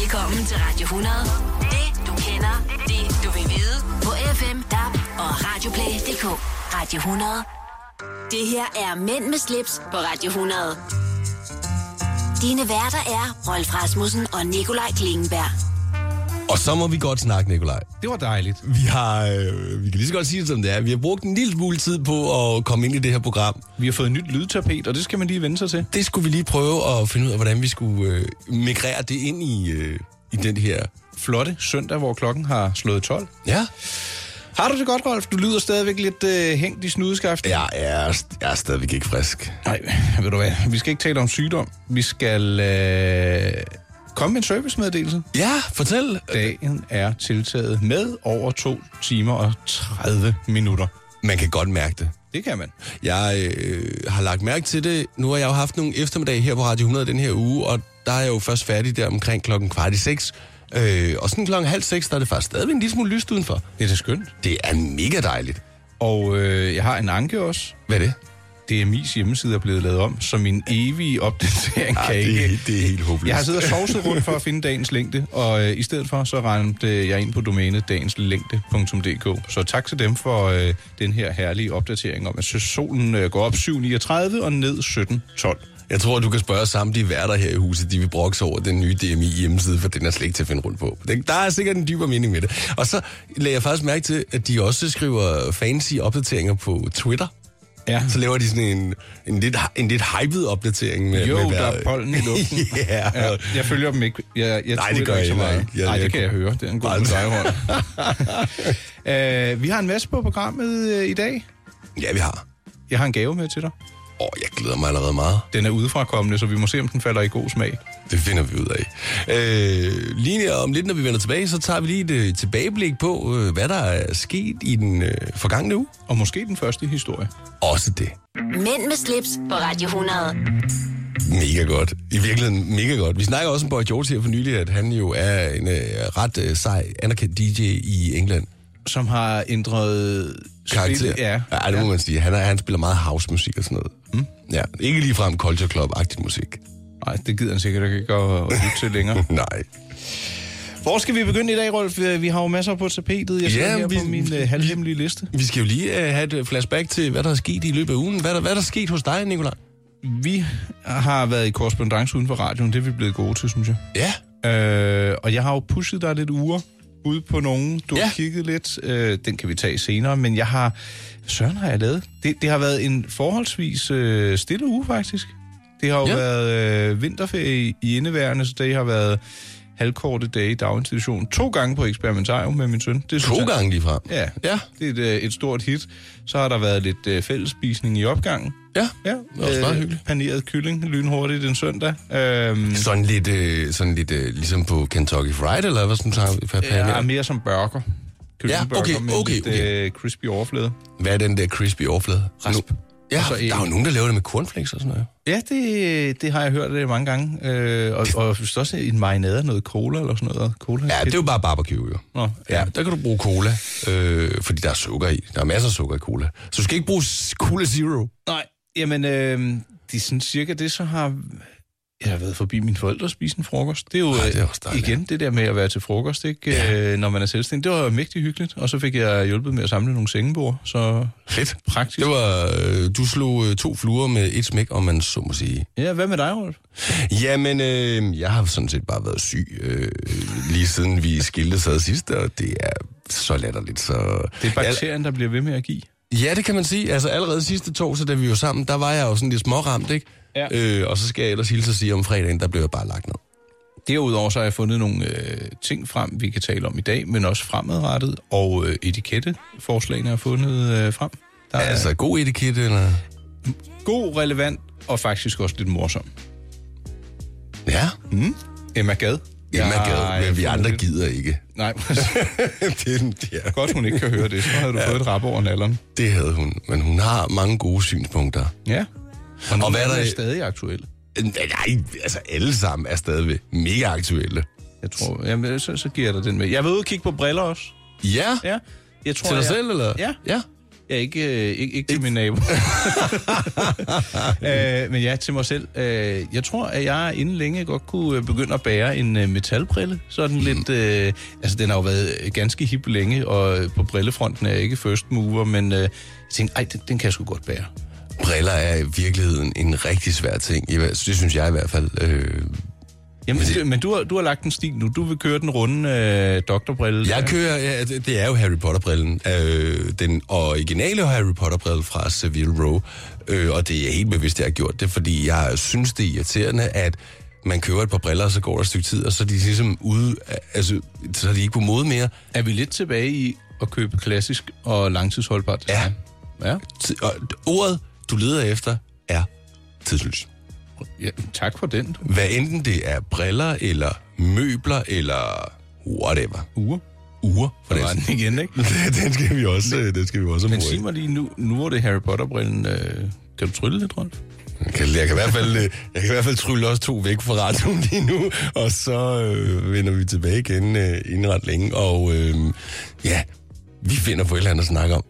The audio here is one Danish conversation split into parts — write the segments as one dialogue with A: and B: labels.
A: Velkommen til Radio 100. Det du kender, det du vil vide. På FM, DAB og Radioplay.dk. Radio 100. Det her er Mænd med slips på Radio 100. Dine værter er Rolf Rasmussen og Nikolaj Klingenberg.
B: Og så må vi godt snakke, Nikolaj.
C: Det var dejligt.
B: Vi har, øh, vi kan lige så godt sige det, som det er. Vi har brugt en lille smule tid på at komme ind i det her program.
C: Vi har fået nyt lydtapet, og det skal man lige vende sig til.
B: Det skulle vi lige prøve at finde ud af, hvordan vi skulle øh, migrere det ind i, øh, i den her...
C: Flotte søndag, hvor klokken har slået 12.
B: Ja,
C: Har du det godt, Rolf? Du lyder stadigvæk lidt øh, hængt i snudeskaftet.
B: jeg er, jeg er stadigvæk ikke frisk.
C: Nej, ved du hvad? Vi skal ikke tale om sygdom. Vi skal øh, komme med en servicemeddelelse.
B: Ja, fortæl.
C: Dagen er tiltaget med over 2 timer og 30 minutter.
B: Man kan godt mærke det.
C: Det kan man.
B: Jeg øh, har lagt mærke til det. Nu har jeg jo haft nogle eftermiddage her på Radio 100 den her uge, og der er jeg jo først færdig der omkring klokken kvart i seks. Øh, og sådan klokken halv seks, der er det faktisk stadigvæk en lille smule lyst udenfor.
C: Det er da skønt.
B: Det er mega dejligt.
C: Og øh, jeg har en anke også.
B: Hvad er det?
C: DMI's hjemmeside er blevet lavet om, så min evige opdatering kan ikke...
B: Ah, det er helt håbløst.
C: Jeg har siddet og sovset rundt for at finde dagens længde, og øh, i stedet for så ramte øh, jeg ind på domænet dagenslængde.dk. Så tak til dem for øh, den her herlige opdatering om, at solen øh, går op 7.39 og ned 17.12.
B: Jeg tror, du kan spørge samtlige værter her i huset, de vil brokse over den nye DMI hjemmeside, for den er slet ikke til at finde rundt på. Den- Der er sikkert en dybere mening med det. Og så lagde jeg faktisk mærke til, at de også skriver fancy opdateringer på Twitter.
C: Ja,
B: Så laver de sådan en, en, lidt, en lidt hyped opdatering. Med,
C: jo,
B: med
C: der er pollen i luften.
B: ja.
C: Ja, jeg følger dem ikke. Jeg, jeg
B: Nej, det
C: twitter
B: gør jeg
C: ikke så
B: heller
C: meget.
B: ikke. Jeg-
C: Nej,
B: jeg-
C: det kan jeg høre. Det er en god
B: Nej.
C: med dig, uh, Vi har en masse på programmet øh, i dag.
B: ja, vi har.
C: Jeg har en gave med til dig.
B: Åh, jeg glæder mig allerede meget.
C: Den er udefrakommende, så vi må se, om den falder i god smag.
B: Det finder vi ud af. Øh, lige om lidt, når vi vender tilbage, så tager vi lige et øh, tilbageblik på, øh, hvad der er sket i den øh, forgangne uge.
C: Og måske den første historie.
B: Også det.
A: Mænd med slips på Radio 100.
B: Mega godt. I virkeligheden mega godt. Vi snakker også om Boy George her for nylig, at han jo er en øh, ret øh, sej, anerkendt DJ i England.
C: som har ændret
B: Karakter.
C: spil- Ja.
B: ja det må man sige. Han, er, han spiller meget housemusik og sådan noget. Mm. Ja, ikke ligefrem Culture Club-agtig musik.
C: Nej, det gider han sikkert ikke at, at lytte til længere.
B: Nej.
C: Hvor skal vi begynde i dag, Rolf? Vi har jo masser på tapetet. Jeg sidder
B: Ja,
C: ja, her
B: vi-
C: på min uh, halvhemmelige liste.
B: Vi skal jo lige øh, have et øh, flashback til, hvad der er sket i løbet af ugen. Hvad der, hvad der er sket hos dig, Nicolaj?
C: Vi har været i korrespondence uden for radioen. Det er vi blevet gode til, synes jeg.
B: Ja.
C: Øh, og jeg har jo pushet dig lidt uger ude på nogen. Du har
B: Ja.
C: kigget lidt. Øh, den kan vi tage senere. Men jeg har... Søren har jeg lavet. Det, det har været en forholdsvis øh, stille uge, faktisk. Det har jo
B: Ja.
C: ja. været øh, vinterferie i- i indeværende, så det har været halvkorte dage i daginstitutionen. To gange på eksperimentarium med min søn. Det synes
B: To
C: jeg-
B: gange ligefrem.
C: Ja,
B: Ja.
C: det er et, øh, et stort hit. Så har der været lidt øh, fællesspisning i opgangen.
B: Ja.
C: Ja, øh,
B: var også meget hyggeligt.
C: paneret kylling lynhurtigt en søndag. Øhm,
B: Sådan lidt, øh, sådan lidt øh, ligesom på Kentucky Fried, eller hvad sådan tager
C: Ja,
B: ja.
C: mere som burger. Kyllingeburger
B: okay,
C: med
B: okay,
C: lidt
B: okay.
C: Øh, crispy overflade.
B: Hvad er den der crispy overflade?
C: Rasp.
B: Nu- Ja,
C: Og så æg.
B: der er jo nogen, der laver det med cornflakes og sådan noget.
C: Ja, det, det har jeg hørt øh, mange gange. Øh, og, og hvis også en marinade af noget cola eller sådan noget. Cola
B: Ja, det er jo bare barbecue, jo.
C: Nå,
B: Ja, der kan du bruge cola, øh, fordi der er sukker i. Der er masser af sukker i cola. Så du skal ikke bruge s- Cola Zero.
C: Nej, jamen, øh, det er sådan cirka det, så har... Jeg har været forbi mine forældre og spise en frokost. Det er jo
B: Ej, Ah, det er
C: øh,
B: også dejligt.
C: igen det der med at være til frokost, ikke? Ja. Øh, når man er selvstændig. Det var jo mægtig hyggeligt, og så fik jeg hjulpet med at samle nogle sengebord, så
B: Fedt.
C: praktisk.
B: Det var, øh, du slog øh, to fluer med et smæk, om man så må sige.
C: Ja, hvad med dig, Rolf?
B: Jamen, øh, jeg har sådan set bare været syg, øh, lige siden vi skilte sad sidst, og det er så latterligt, så...
C: Det er bakterien, der bliver ved med at give.
B: Ja, det kan man sige. Altså allerede sidste torsdag, da vi var sammen, der var jeg jo sådan lidt småramt, ikke?
C: Ja.
B: Øh, og så skal jeg ellers hilse og sige, om fredagen, der blev jeg bare lagt ned.
C: Derudover så har jeg fundet nogle øh, ting frem, vi kan tale om i dag, men også fremadrettet, og øh, etiketteforslagene er fundet øh, frem. Der er
B: Ja. Altså, god etikette, eller...
C: god, relevant og faktisk også lidt morsom.
B: Ja,
C: Mm. Emma Gad.
B: Emma
C: Jeg
B: gad,
C: har
B: men vi
C: fundet
B: andre
C: lidt-
B: gider ikke.
C: Nej,
B: det, er den der.
C: godt hun ikke kan høre det, så havde du ja. fået et rap over nalderen.
B: det havde hun, men hun har mange gode synspunkter.
C: Ja. Og,
B: Og hvad er der-
C: er stadig aktuel?
B: Øh, Nej, altså alle sammen er stadigvæk mega aktuelle.
C: Jeg tror, jamen, så, så giver jeg dig den med. Jeg var ude og kigge på briller også.
B: Ja,
C: Ja. Jeg tror,
B: til dig
C: jeg,
B: selv, eller?
C: Ja.
B: ja.
C: Ja, ikke, øh, ikke, ikke til min nabo. øh, men ja, til mig selv. Øh, jeg tror, at jeg inden længe godt kunne øh, begynde at bære en øh, metalbrille. Sådan lidt... Øh, altså, den har jo været øh, ganske hip længe, og øh, på brillefronten er jeg ikke first mover, men øh, jeg tænkte, ej, den, den kan jeg sgu godt bære.
B: Briller er i virkeligheden en rigtig svær ting. I hver- Det synes jeg i hvert fald. Øh,
C: Jamen, det, men du har, du har lagt en stil nu. Du vil køre den runde øh, doktorbrille.
B: Jeg kører, ja, det, det er jo Harry Potter-brillen. Øh, den originale Harry Potter-brille fra Savile Row. Øh, og det er helt bevidst, at jeg har gjort det, fordi jeg synes, det er irriterende, at man køber et par briller, og så går der et stykke tid, og så er de ligesom ude, altså, så er de ikke på mode mere.
C: Er vi lidt tilbage i at købe klassisk og langtidsholdbart? design? Ja.
B: Ti- Og ordet, du leder efter, er tidsløs.
C: Ja, tak for den, du.
B: Hvad enten det er briller, eller møbler, eller whatever.
C: Ure.
B: Ure, for
C: Der var
B: den.
C: den igen, ikke?
B: den skal vi også, den skal vi også
C: Men
B: bruge.
C: sig mig lige nu, nu er det Harry Potter-brillen. Øh, kan du trylle lidt, Rolf?
B: Jeg kan, jeg kan i hvert fald, øh, jeg kan i hvert fald trylle også to væk fra radioen lige nu, og så øh, vender vi tilbage igen øh, inden ret længe, og øh, ja, vi finder på et eller andet at snakke om.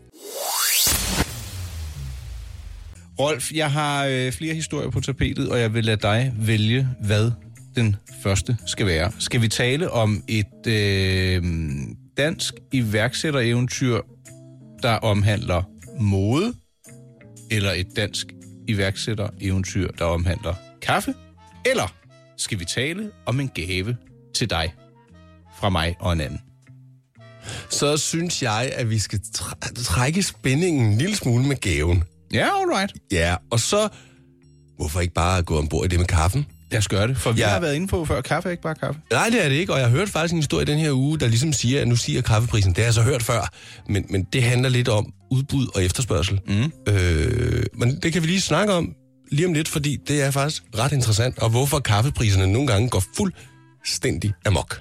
C: Rolf, jeg har øh, flere historier på tapetet, og jeg vil lade dig vælge, hvad den første skal være. Skal vi tale om et øh, dansk iværksættereventyr, der omhandler mode, eller et dansk iværksættereventyr, der omhandler kaffe? Eller skal vi tale om en gave til dig fra mig og en anden?
B: Så synes jeg, at vi skal tr- trække spændingen en lille smule med gaven.
C: Ja, all right.
B: Ja, og så, hvorfor ikke bare gå ombord i det med kaffen?
C: Lad os gøre det, for vi
B: Ja.
C: ja. har været inde på før, kaffe er ikke bare kaffe.
B: Nej, det er det ikke, og jeg har hørt faktisk en historie den her uge, der ligesom siger, at nu siger kaffeprisen, det har jeg så hørt før, men, men det handler lidt om udbud og efterspørgsel. Mm. Øh, men det kan vi lige snakke om lige om lidt, fordi det er faktisk ret interessant, og hvorfor kaffepriserne nogle gange går fuldstændig amok.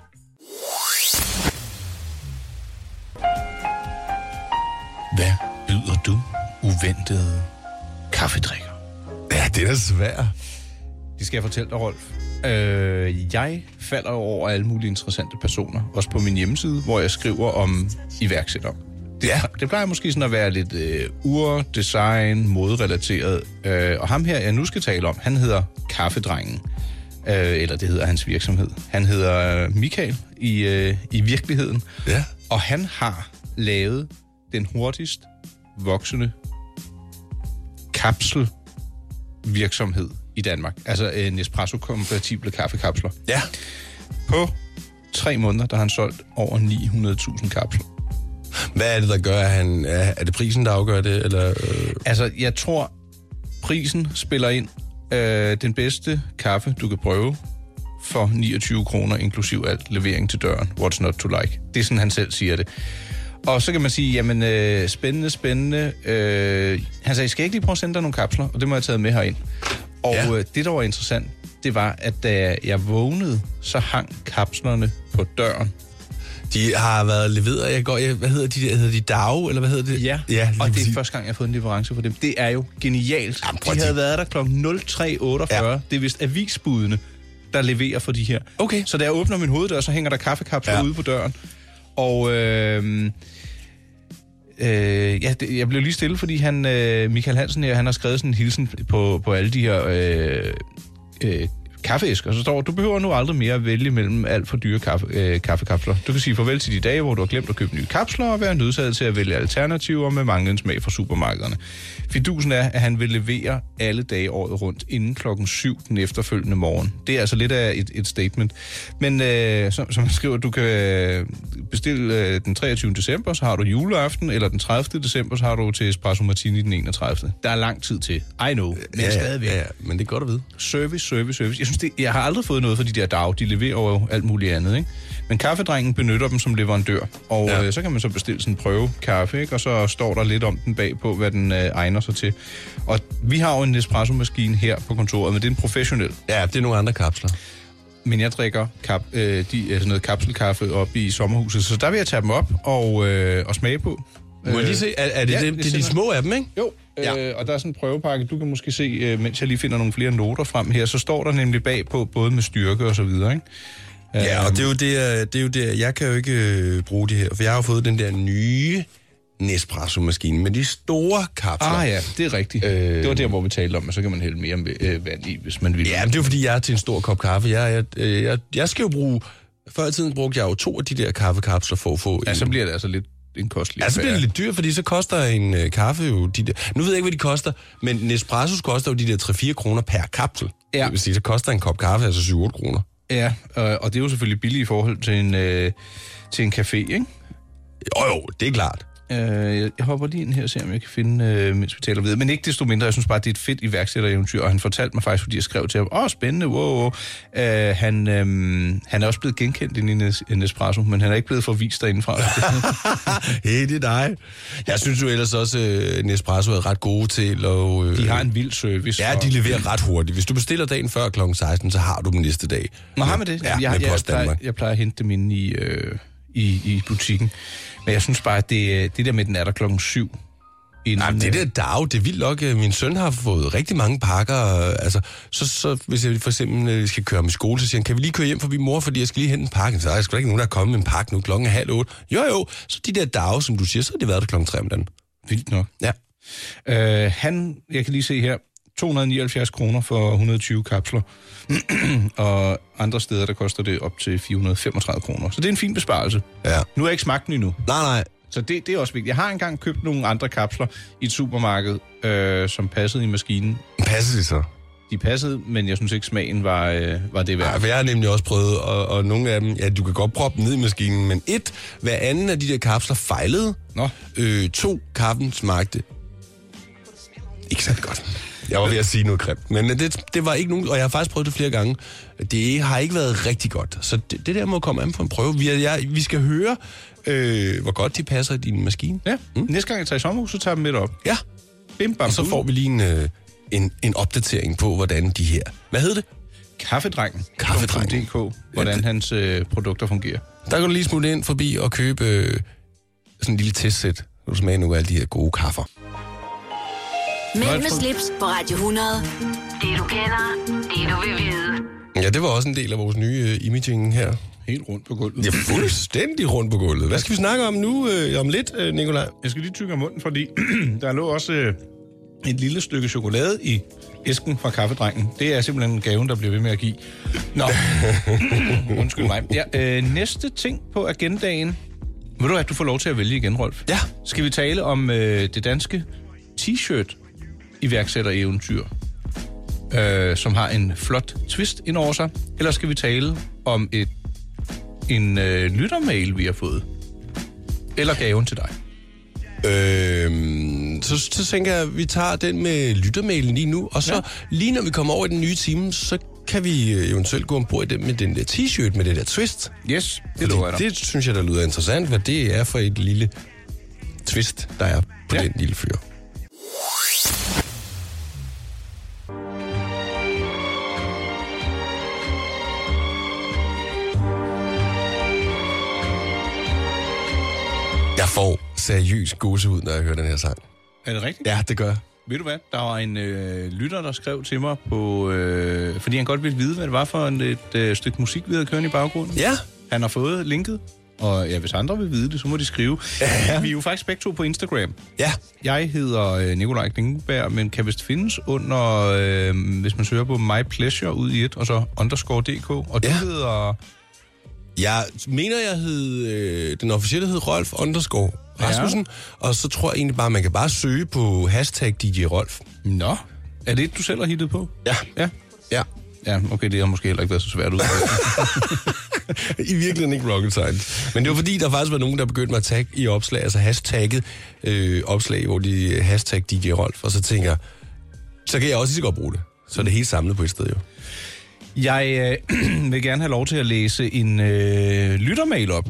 C: Hvad byder du uventede kaffedrikker?
B: Ja, det er da svært.
C: Det skal jeg fortælle dig, Rolf. Øh, jeg falder over alle mulige interessante personer, også på min hjemmeside, hvor jeg skriver om iværksættere.
B: Ja,
C: Det plejer måske sådan at være lidt øh, ur, design, moderelateret. Øh, og ham her, jeg nu skal tale om, han hedder Kaffedrengen. Øh, eller det hedder hans virksomhed. Han hedder øh, Michael i, øh, i virkeligheden.
B: ja.
C: Og han har lavet den hurtigst voksende kapselvirksomhed i Danmark. Altså øh, Nespresso-kompatible kaffekapsler.
B: ja.
C: På tre måneder, der har han solgt over 900.000 kapsler.
B: Hvad er det, der gør, at han... Er er det prisen, der afgør det, eller... Øh,
C: Altså, jeg tror, prisen spiller ind. Øh, den bedste kaffe, du kan prøve, for 29 kroner, inklusiv alt levering til døren. What's not to like? Det er sådan, han selv siger det. Og så kan man sige, jamen, øh, spændende, spændende. Øh, han sagde, skal jeg ikke lige prøve at sende dig nogle kapsler? Og det må jeg have taget med herind. Og
B: Ja.
C: ja. øh, det, der var interessant, det var, at da jeg vågnede, så hang kapslerne på døren.
B: de har været leveret, jeg går... Jeg, hvad hedder de der? Hedder de DAO, eller hvad hedder det?
C: Ja,
B: ja
C: ja og det
B: præcis.
C: er første gang, jeg har fået en leverance fra dem. Det er jo genialt.
B: Jamen, prøv at
C: de havde
B: tænke.
C: været der kl. 03.48.
B: Ja.
C: Ja. Det er vist avisbudene, der leverer for de her.
B: Okay.
C: Så da jeg åbner min hoveddør, så hænger der kaffekapsler
B: Ja.
C: ja. ude på døren. Og øh, øh, ja, det, jeg blev lige stille, fordi han, øh, Michael Hansen her, han har skrevet sådan en hilsen på, på alle de her øh, øh, kaffeæsker. Så står der, du behøver nu aldrig mere at vælge mellem alt for dyre kaffe, øh, kaffekapsler. Du kan sige farvel til de dage, hvor du har glemt at købe nye kapsler og være nødsaget til at vælge alternativer med manglende smag fra supermarkederne. Fidusen er, at han vil levere alle dage året rundt inden klokken 7 den efterfølgende morgen. Det er altså lidt af et, et statement. Men øh, som, som han skriver, du kan øh, bestille øh, den 23. december, så har du juleaften, eller den 30. december, så har du til Espresso Martini den 31. Der er lang tid til. I know, men
B: ja,
C: stadigvæk.
B: ja, ja, men det er godt at vide.
C: Service, service, service. Jeg, synes, det, jeg har aldrig fået noget fra de der dag. De leverer jo alt muligt andet, ikke? Men kaffedrengen benytter dem som leverandør. Og
B: Ja.
C: ja. øh, så kan man så bestille sådan en prøve kaffe, ikke? Og så står der lidt om den bagpå, hvad den øh, egner sig til. Og vi har jo en Nespresso-maskine her på kontoret, men det er en professionel.
B: Ja, det er nogle andre kapsler.
C: Men jeg drikker kap, øh, de, øh, sådan noget kapselkaffe op i sommerhuset, så der vil jeg tage dem op og, øh, og smage på.
B: Må jeg lige se, er, er det, ja,
C: Øh, ja,
B: det,
C: det
B: det er de
C: sender-
B: små af dem, ikke?
C: Jo, øh,
B: Ja.
C: ja. og der er sådan en prøvepakke. Du kan måske se, øh, mens jeg lige finder nogle flere noter frem her, så står der nemlig bagpå, både med styrke og så videre, ikke?
B: Ja, og det er jo det, øh, det er jo det, jeg kan jo ikke øh, bruge det her, for jeg har jo fået den der nye Nespresso-maskinen med de store kapsler.
C: Ah ja, det er rigtigt. Øh... Det var der, hvor vi talte om, at så kan man hælde mere øh, vand i, hvis man vil.
B: Ja, men det er jo fordi, jeg er til en stor kop kaffe. Jeg, jeg, øh, jeg, jeg skal jo bruge... Før i tiden brugte jeg jo to af de der kaffekapsler for at få...
C: ja,
B: en-
C: så bliver det altså lidt en kostelig
B: Ja, så bliver det
C: affære.
B: lidt dyrt, fordi så koster en øh, kaffe jo de der... Nu ved jeg ikke, hvad de koster, men Nespressos koster jo de der 3-4 kroner per kapsel.
C: Ja.
B: Det vil sige, så koster en kop kaffe altså 7-8 kroner.
C: Ja, øh, og det er jo selvfølgelig billigt i forhold til en, øh, til en café, ikke?
B: Jo, jo, det er klart.
C: Øh, jeg- jeg hopper lige ind her og ser, om jeg kan finde, øh, mens vi taler videre. Men ikke desto mindre, jeg synes bare, det er et fedt iværksættereventyr, og han fortalte mig faktisk, fordi jeg skrev til ham, åh, spændende, wow, wow. Øh, han, øh, han er også blevet genkendt inde i Nes- Nespresso, men han er ikke blevet forvist derindefra.
B: hey, det er dig. Jeg synes jo ellers også, at Nespresso er ret gode til at... Øh,
C: De har en vild service.
B: Ja,
C: og-
B: de leverer ret hurtigt. Hvis du bestiller dagen før kl. 16, så har du dem næste dag.
C: Nå, har man det?
B: Ja,
C: jeg,
B: med
C: jeg,
B: Post
C: plejer,
B: Danmark.
C: jeg plejer at hente dem inde i, øh, i, i butikken. Men jeg synes bare, at det, det der med, at den er der klokken syv. Inden,
B: Jamen, det der dag, det er vildt nok. Øh, Min søn har fået rigtig mange pakker. øh, Altså, så, så hvis jeg for eksempel øh, skal køre ham i skole, så siger han, kan vi lige køre hjem forbi mor, fordi jeg skal lige hente en pakke. Så er der sgu da ikke nogen, der er kommet med en pakke nu klokken er halv otte. Jo, jo, så de der dage, som du siger, så har det været der klokken tre om dagen.
C: er vildt nok.
B: Ja.
C: Øh, han, jeg kan lige se her, 279 kroner for 120 kapsler. og andre steder, der koster det op til 435 kroner. Så det er en fin besparelse.
B: Ja.
C: Nu har jeg ikke smagt den endnu.
B: Nej, nej.
C: Så det, det er også vigtigt. Jeg har engang købt nogle andre kapsler i et supermarked, øh, som passede i maskinen.
B: Passer det så?
C: De passede, men jeg synes ikke, smagen var, øh, var det værd.
B: Ja, for jeg har nemlig også prøvet, og, og nogle af dem, ja, du kan godt proppe dem ned i maskinen, men et, hver anden af de der kapsler fejlede.
C: Nå.
B: Øh, to, kaffen smagte ikke særlig godt. Jeg var ved at sige noget grimt, men øh, det, det var ikke nogen, og jeg har faktisk prøvet det flere gange. Det har ikke været rigtig godt, så det, det der må komme an på en prøve. Vi, er, jeg, vi skal høre, øh, hvor godt de passer i din maskine.
C: Ja, mm. næste gang jeg tager i sommerhus, så tager jeg dem lidt op.
B: Ja,
C: Bim, bam,
B: og så får
C: vi
B: vi lige en, øh, en, en opdatering på, hvordan de her... Hvad hed det?
C: kaffedrengen.
B: Kaffedrengen.
C: .dk, hvordan
B: Ja, det-
C: hans øh, produkter fungerer.
B: Der kan du lige smutte ind forbi og købe øh, sådan en lille testsæt. Så kan Du smager nu af alle de her gode kaffer.
A: Mænd med
C: Nøgletrumf.
A: slips på Radio 100. Det du kender, det du vil vide.
B: Ja, det var også en del af vores nye øh, imaging her.
C: Helt rundt på gulvet.
B: Ja, fuldstændig rundt på gulvet. Hvad skal vi snakke om nu, øh, om lidt, øh, Nikolaj?
C: Jeg skal lige tykke om munden, fordi der lå også øh, et lille stykke chokolade i æsken fra kaffedrengen. Det er simpelthen gaven, der bliver ved med at give. Nå, undskyld mig. Ja, øh, næste ting på agendaen. Ved du at du får lov til at vælge igen, Rolf?
B: Ja.
C: Skal vi tale om øh, det danske t-shirt iværksættereventyr, øh, som har en flot twist ind over sig? Eller skal vi tale om et en øh, lyttermail, vi har fået? Eller gaven til dig?
B: Øh, så, så tænker jeg, at vi tager den med lyttermailen lige nu, og så ja.
C: Ja.
B: lige når vi kommer over i den nye time, så kan vi øh, eventuelt gå ombord i den med den der t-shirt med det der twist.
C: Yes, det
B: Fordi
C: lover jeg dig.
B: det synes jeg, der lyder interessant, hvad det er for et lille twist, der er på ja.
C: Ja.
B: den lille fyr. Jeg får seriøst gåsehud, når jeg hører den her sang.
C: Er det rigtigt?
B: Ja, det gør jeg.
C: Ved du hvad? Der var en øh, lytter, der skrev til mig, på, øh, fordi han godt ville vide, hvad det var for en, et øh, stykke musik, vi havde kørende i baggrunden.
B: Ja.
C: Han har fået linket, og ja, hvis andre vil vide det, så må de skrive. Ja. Vi er jo faktisk begge to på Instagram.
B: Ja.
C: Jeg hedder øh, Nikolaj Klingenberg, men kan vist findes under, øh, hvis man søger på My Pleasure ud i et, og så underscore DK. Og ja.
B: Ja.
C: du hedder...
B: Jeg mener, jeg hed, øh, den officielle hed Rolf underscore Rasmussen, ja. og så tror jeg egentlig bare, man kan bare søge på hashtag DJ Rolf.
C: Nå, er det et, du selv har hittet på?
B: Ja.
C: Ja.
B: Ja.
C: Ja, okay, det har måske heller ikke været så svært ud.
B: I virkeligheden ikke rocket science. Men det var fordi, der faktisk var nogen, der begyndte mig at tagge i opslag, altså hashtagget øh, opslag, hvor de hashtag DJ Rolf, og så tænker jeg, så kan jeg også lige så godt bruge det. Så er det helt samlet på et sted jo.
C: Jeg øh, vil gerne have lov til at læse en øh, lyttermail op.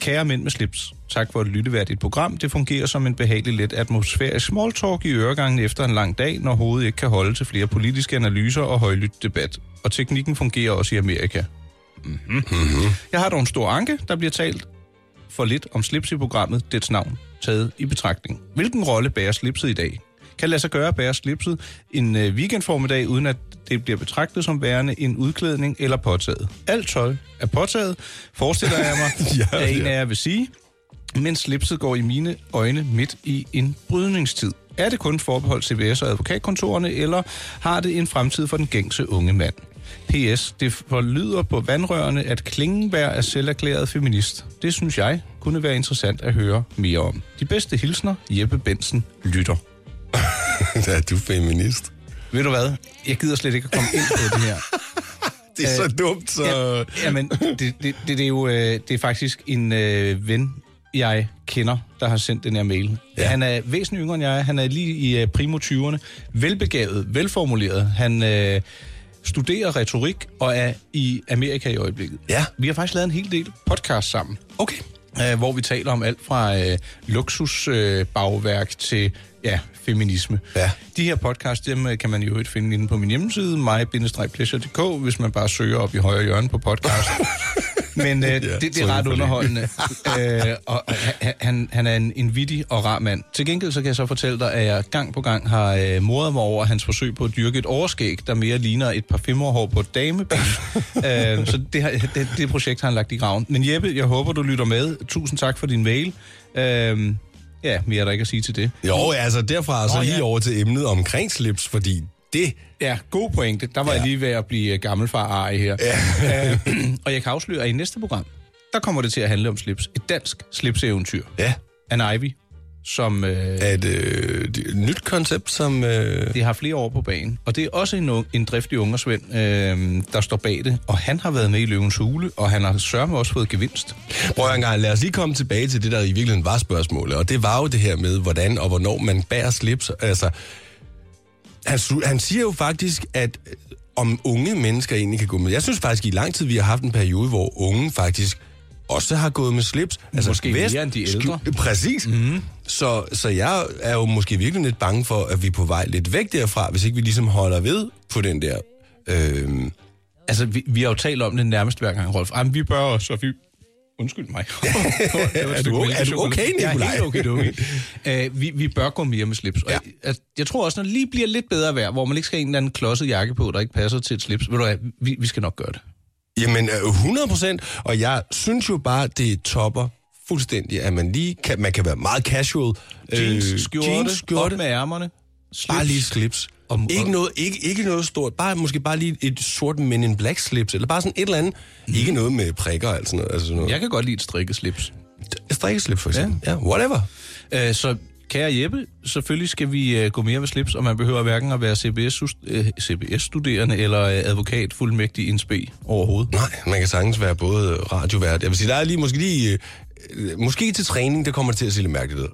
C: Kære mænd med slips, tak for et lytteværdigt program. Det fungerer som en behagelig let atmosfærisk small talk i øregangen efter en lang dag, når hovedet ikke kan holde til flere politiske analyser og højlydt debat. Og teknikken fungerer også i Amerika. Mm-hmm. Jeg har dog en stor anke, der bliver talt for lidt om slips i programmet, dets navn taget i betragtning. Hvilken rolle bærer slipset i dag? Kan lade sig gøre at bære slipset en øh, weekendformiddag, uden at det bliver betragtet som værende en udklædning eller påtaget? Alt tøj er påtaget, forestiller jeg mig,
B: Ja,
C: ja, at en
B: ja.
C: af jer vil sige. men slipset går i mine øjne midt i en brydningstid. Er det kun forbeholdt CBS og advokatkontorerne, eller har det en fremtid for den gængse unge mand? PS. Det forlyder på vandrørene, at Klingenberg er selverklæret feminist. Det synes jeg kunne være interessant at høre mere om. De bedste hilsner, Jeppe Bensen lytter.
B: ja, du er feminist.
C: Ved du hvad? Jeg gider slet ikke at komme ind på det her.
B: Det er så dumt, så...
C: Ja, jamen, det, det, det, det er jo øh, det er faktisk en øh, ven, jeg kender, der har sendt den her mail.
B: Ja.
C: Ja. Han er væsentligt yngre end jeg er. Han er lige i øh, primo 20'erne. Velbegavet, velformuleret. Han øh, studerer retorik og er i Amerika i øjeblikket.
B: Ja.
C: Vi har faktisk lavet en hel del podcast sammen
B: Okay.
C: øh, hvor vi taler om alt fra øh, luksusbagværk øh, bagværk til ja, feminisme.
B: Ja.
C: De her podcasts, dem øh, kan man jo ikke finde inde på min hjemmeside, mig-pleasure.dk, hvis man bare søger op i højre hjørne på podcast. Men øh, det, det
B: tryk
C: er
B: på
C: ret
B: link.
C: underholdende. øh, og han- han, han er en, en vittig og rar mand. Til gengæld så kan jeg så fortælle dig, at jeg gang på gang har øh, mordet mig over hans forsøg på at dyrke et overskæg, der mere ligner et par femmerhår på et dameben. øh, så det, har, det, det projekt har han lagt i graven. Men Jeppe, jeg håber, du lytter med. Tusind tak for din mail. Øh, ja, mere er der ikke at sige til det.
B: Jo, altså derfra så
C: Nå,
B: lige
C: ja.
B: over til emnet omkring slips, fordi det...
C: Ja, god pointe. Der var ja. jeg lige ved at blive øh, gammel far Ari her. Ja. og jeg kan afsløre, at i næste program, der kommer det til at handle om slips. Et dansk slipseventyr.
B: Ja.
C: Anne Ivy, som øh,
B: Er et øh, det er et nyt koncept, som... Øh,
C: det har flere år på banen. Og det er også en, ung- en driftig ungersvend, øh, der står bag det. Og han har været med i Løvens Hule, og han har sørme også fået gevinst.
B: prøv en gang, lad os lige komme tilbage til det, der i virkeligheden var spørgsmålet. Og det var jo det her med, hvordan og hvornår man bærer slips. Altså, han, su- han siger jo faktisk, at øh, om unge mennesker egentlig kan gå med. Jeg synes faktisk, i lang tid, vi har haft en periode, hvor unge faktisk også har gået med slips.
C: Måske mere end de ældre. Mhm.
B: skjul- Præcis. Mm-hmm. Så, så jeg er jo måske virkelig lidt bange for, at vi er på vej lidt væk derfra, hvis ikke vi ligesom holder ved på den der... Øh,
C: Altså, vi, vi har jo talt om det nærmest hver gang, Rolf. Jamen, vi bør også, og vi... Undskyld mig. Det var et stykke
B: du o-
C: mælkechokolade.
B: er du okay, Nikolaj?
C: Jeg er helt okay, du okay. Uh, vi, vi bør gå mere med slips. Ja. Altså, jeg tror også, når det lige bliver lidt bedre vejr, hvor man ikke skal have en eller anden klodset jakke på, der ikke passer til et slips, ved du hvad, vi, vi skal nok gøre det.
B: Jamen, øh, 100 procent. Og jeg synes jo bare, det topper fuldstændig, at man lige kan, man kan være meget casual.
C: Jeans, øh, skjorte,
B: jeans, skjorte
C: op med ærmerne, slips.
B: bare lige slips.
C: Og-
B: ikke, noget, ikke, ikke noget stort, bare måske bare lige et sort men in black slips, eller bare sådan et eller andet.
C: Mm.
B: Ikke noget med prikker og alt sådan noget. Altså sådan noget.
C: Jeg kan godt lide et strikket slips.
B: Ja. Strikkeslips for eksempel. Ja, ja whatever.
C: Øh, så kære Jeppe, selvfølgelig skal vi øh, gå mere med slips, og man behøver hverken at være CBS-studerende øh, CBS-studerende eller øh, advokat fuldmægtig i en spe overhovedet.
B: Nej, man kan sagtens være både radiovært. Jeg vil sige, der er lige måske lige... øh, Måske til træning, der kommer det til at se lidt mærkeligt ud.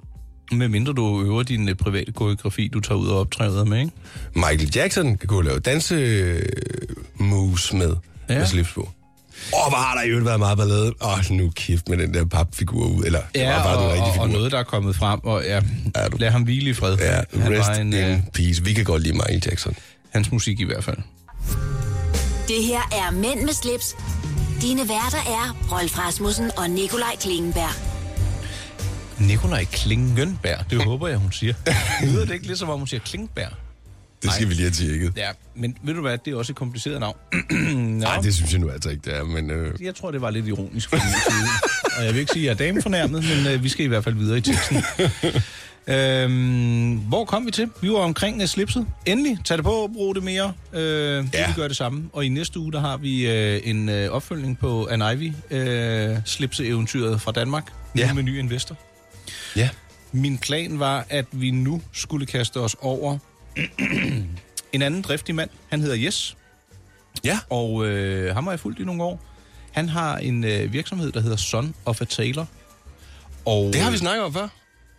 C: Med mindre du øver din øh, private koreografi, du tager ud og optræder med, ikke?
B: Michael Jackson kan gå og lave danse øh, moves med, ja.
C: Ja.
B: med slips på. Åh, hvor har der i øvrigt været meget ballade. Åh, nu kæft med den der papfigur ud. Eller, det var bare
C: og,
B: den rigtige
C: og,
B: figur.
C: og noget, der er kommet frem, og ja,
B: Er du-
C: lad ham hvile i fred.
B: Ja,
C: Han var
B: rest
C: en,
B: in
C: øh,
B: peace. Vi kan godt lide Michael Jackson.
C: hans musik i hvert fald.
A: Det her er Mænd med slips. Dine værter er Rolf Rasmussen og Nikolaj Klingenberg.
C: Nikolaj Klingenberg, det håber jeg, hun siger. Lyder det ikke lidt som om, hun siger Klingberg?
B: Det skal vi lige have tjekket.
C: Ja, men ved du hvad, det er også et kompliceret navn.
B: Nej, det synes jeg nu altså ikke, det er. Men, øh,
C: Jeg tror, det var lidt ironisk fra min side. Og jeg vil ikke sige, at jeg er damefornærmet, men øh, vi skal i hvert fald videre i teksten. øhm, hvor kom vi til? Vi var omkring øh, slipset. Endelig, tag det på, brug det mere. Øh,
B: Ja.
C: ja. Vi gør det samme. Og i næste uge, der har vi øh, en øh, opfølgning på An Ivy, øh, slipseeventyret fra Danmark. Nu
B: Ja.
C: ja. med ny investor.
B: ja.
C: Min plan var, at vi nu skulle kaste os over en anden driftig mand. Han hedder Jes
B: Ja.
C: og øh, ham har jeg fulgt i nogle år. Han har en øh, virksomhed, der hedder Son of a Tailor. Og,
B: Det har vi snakket om før.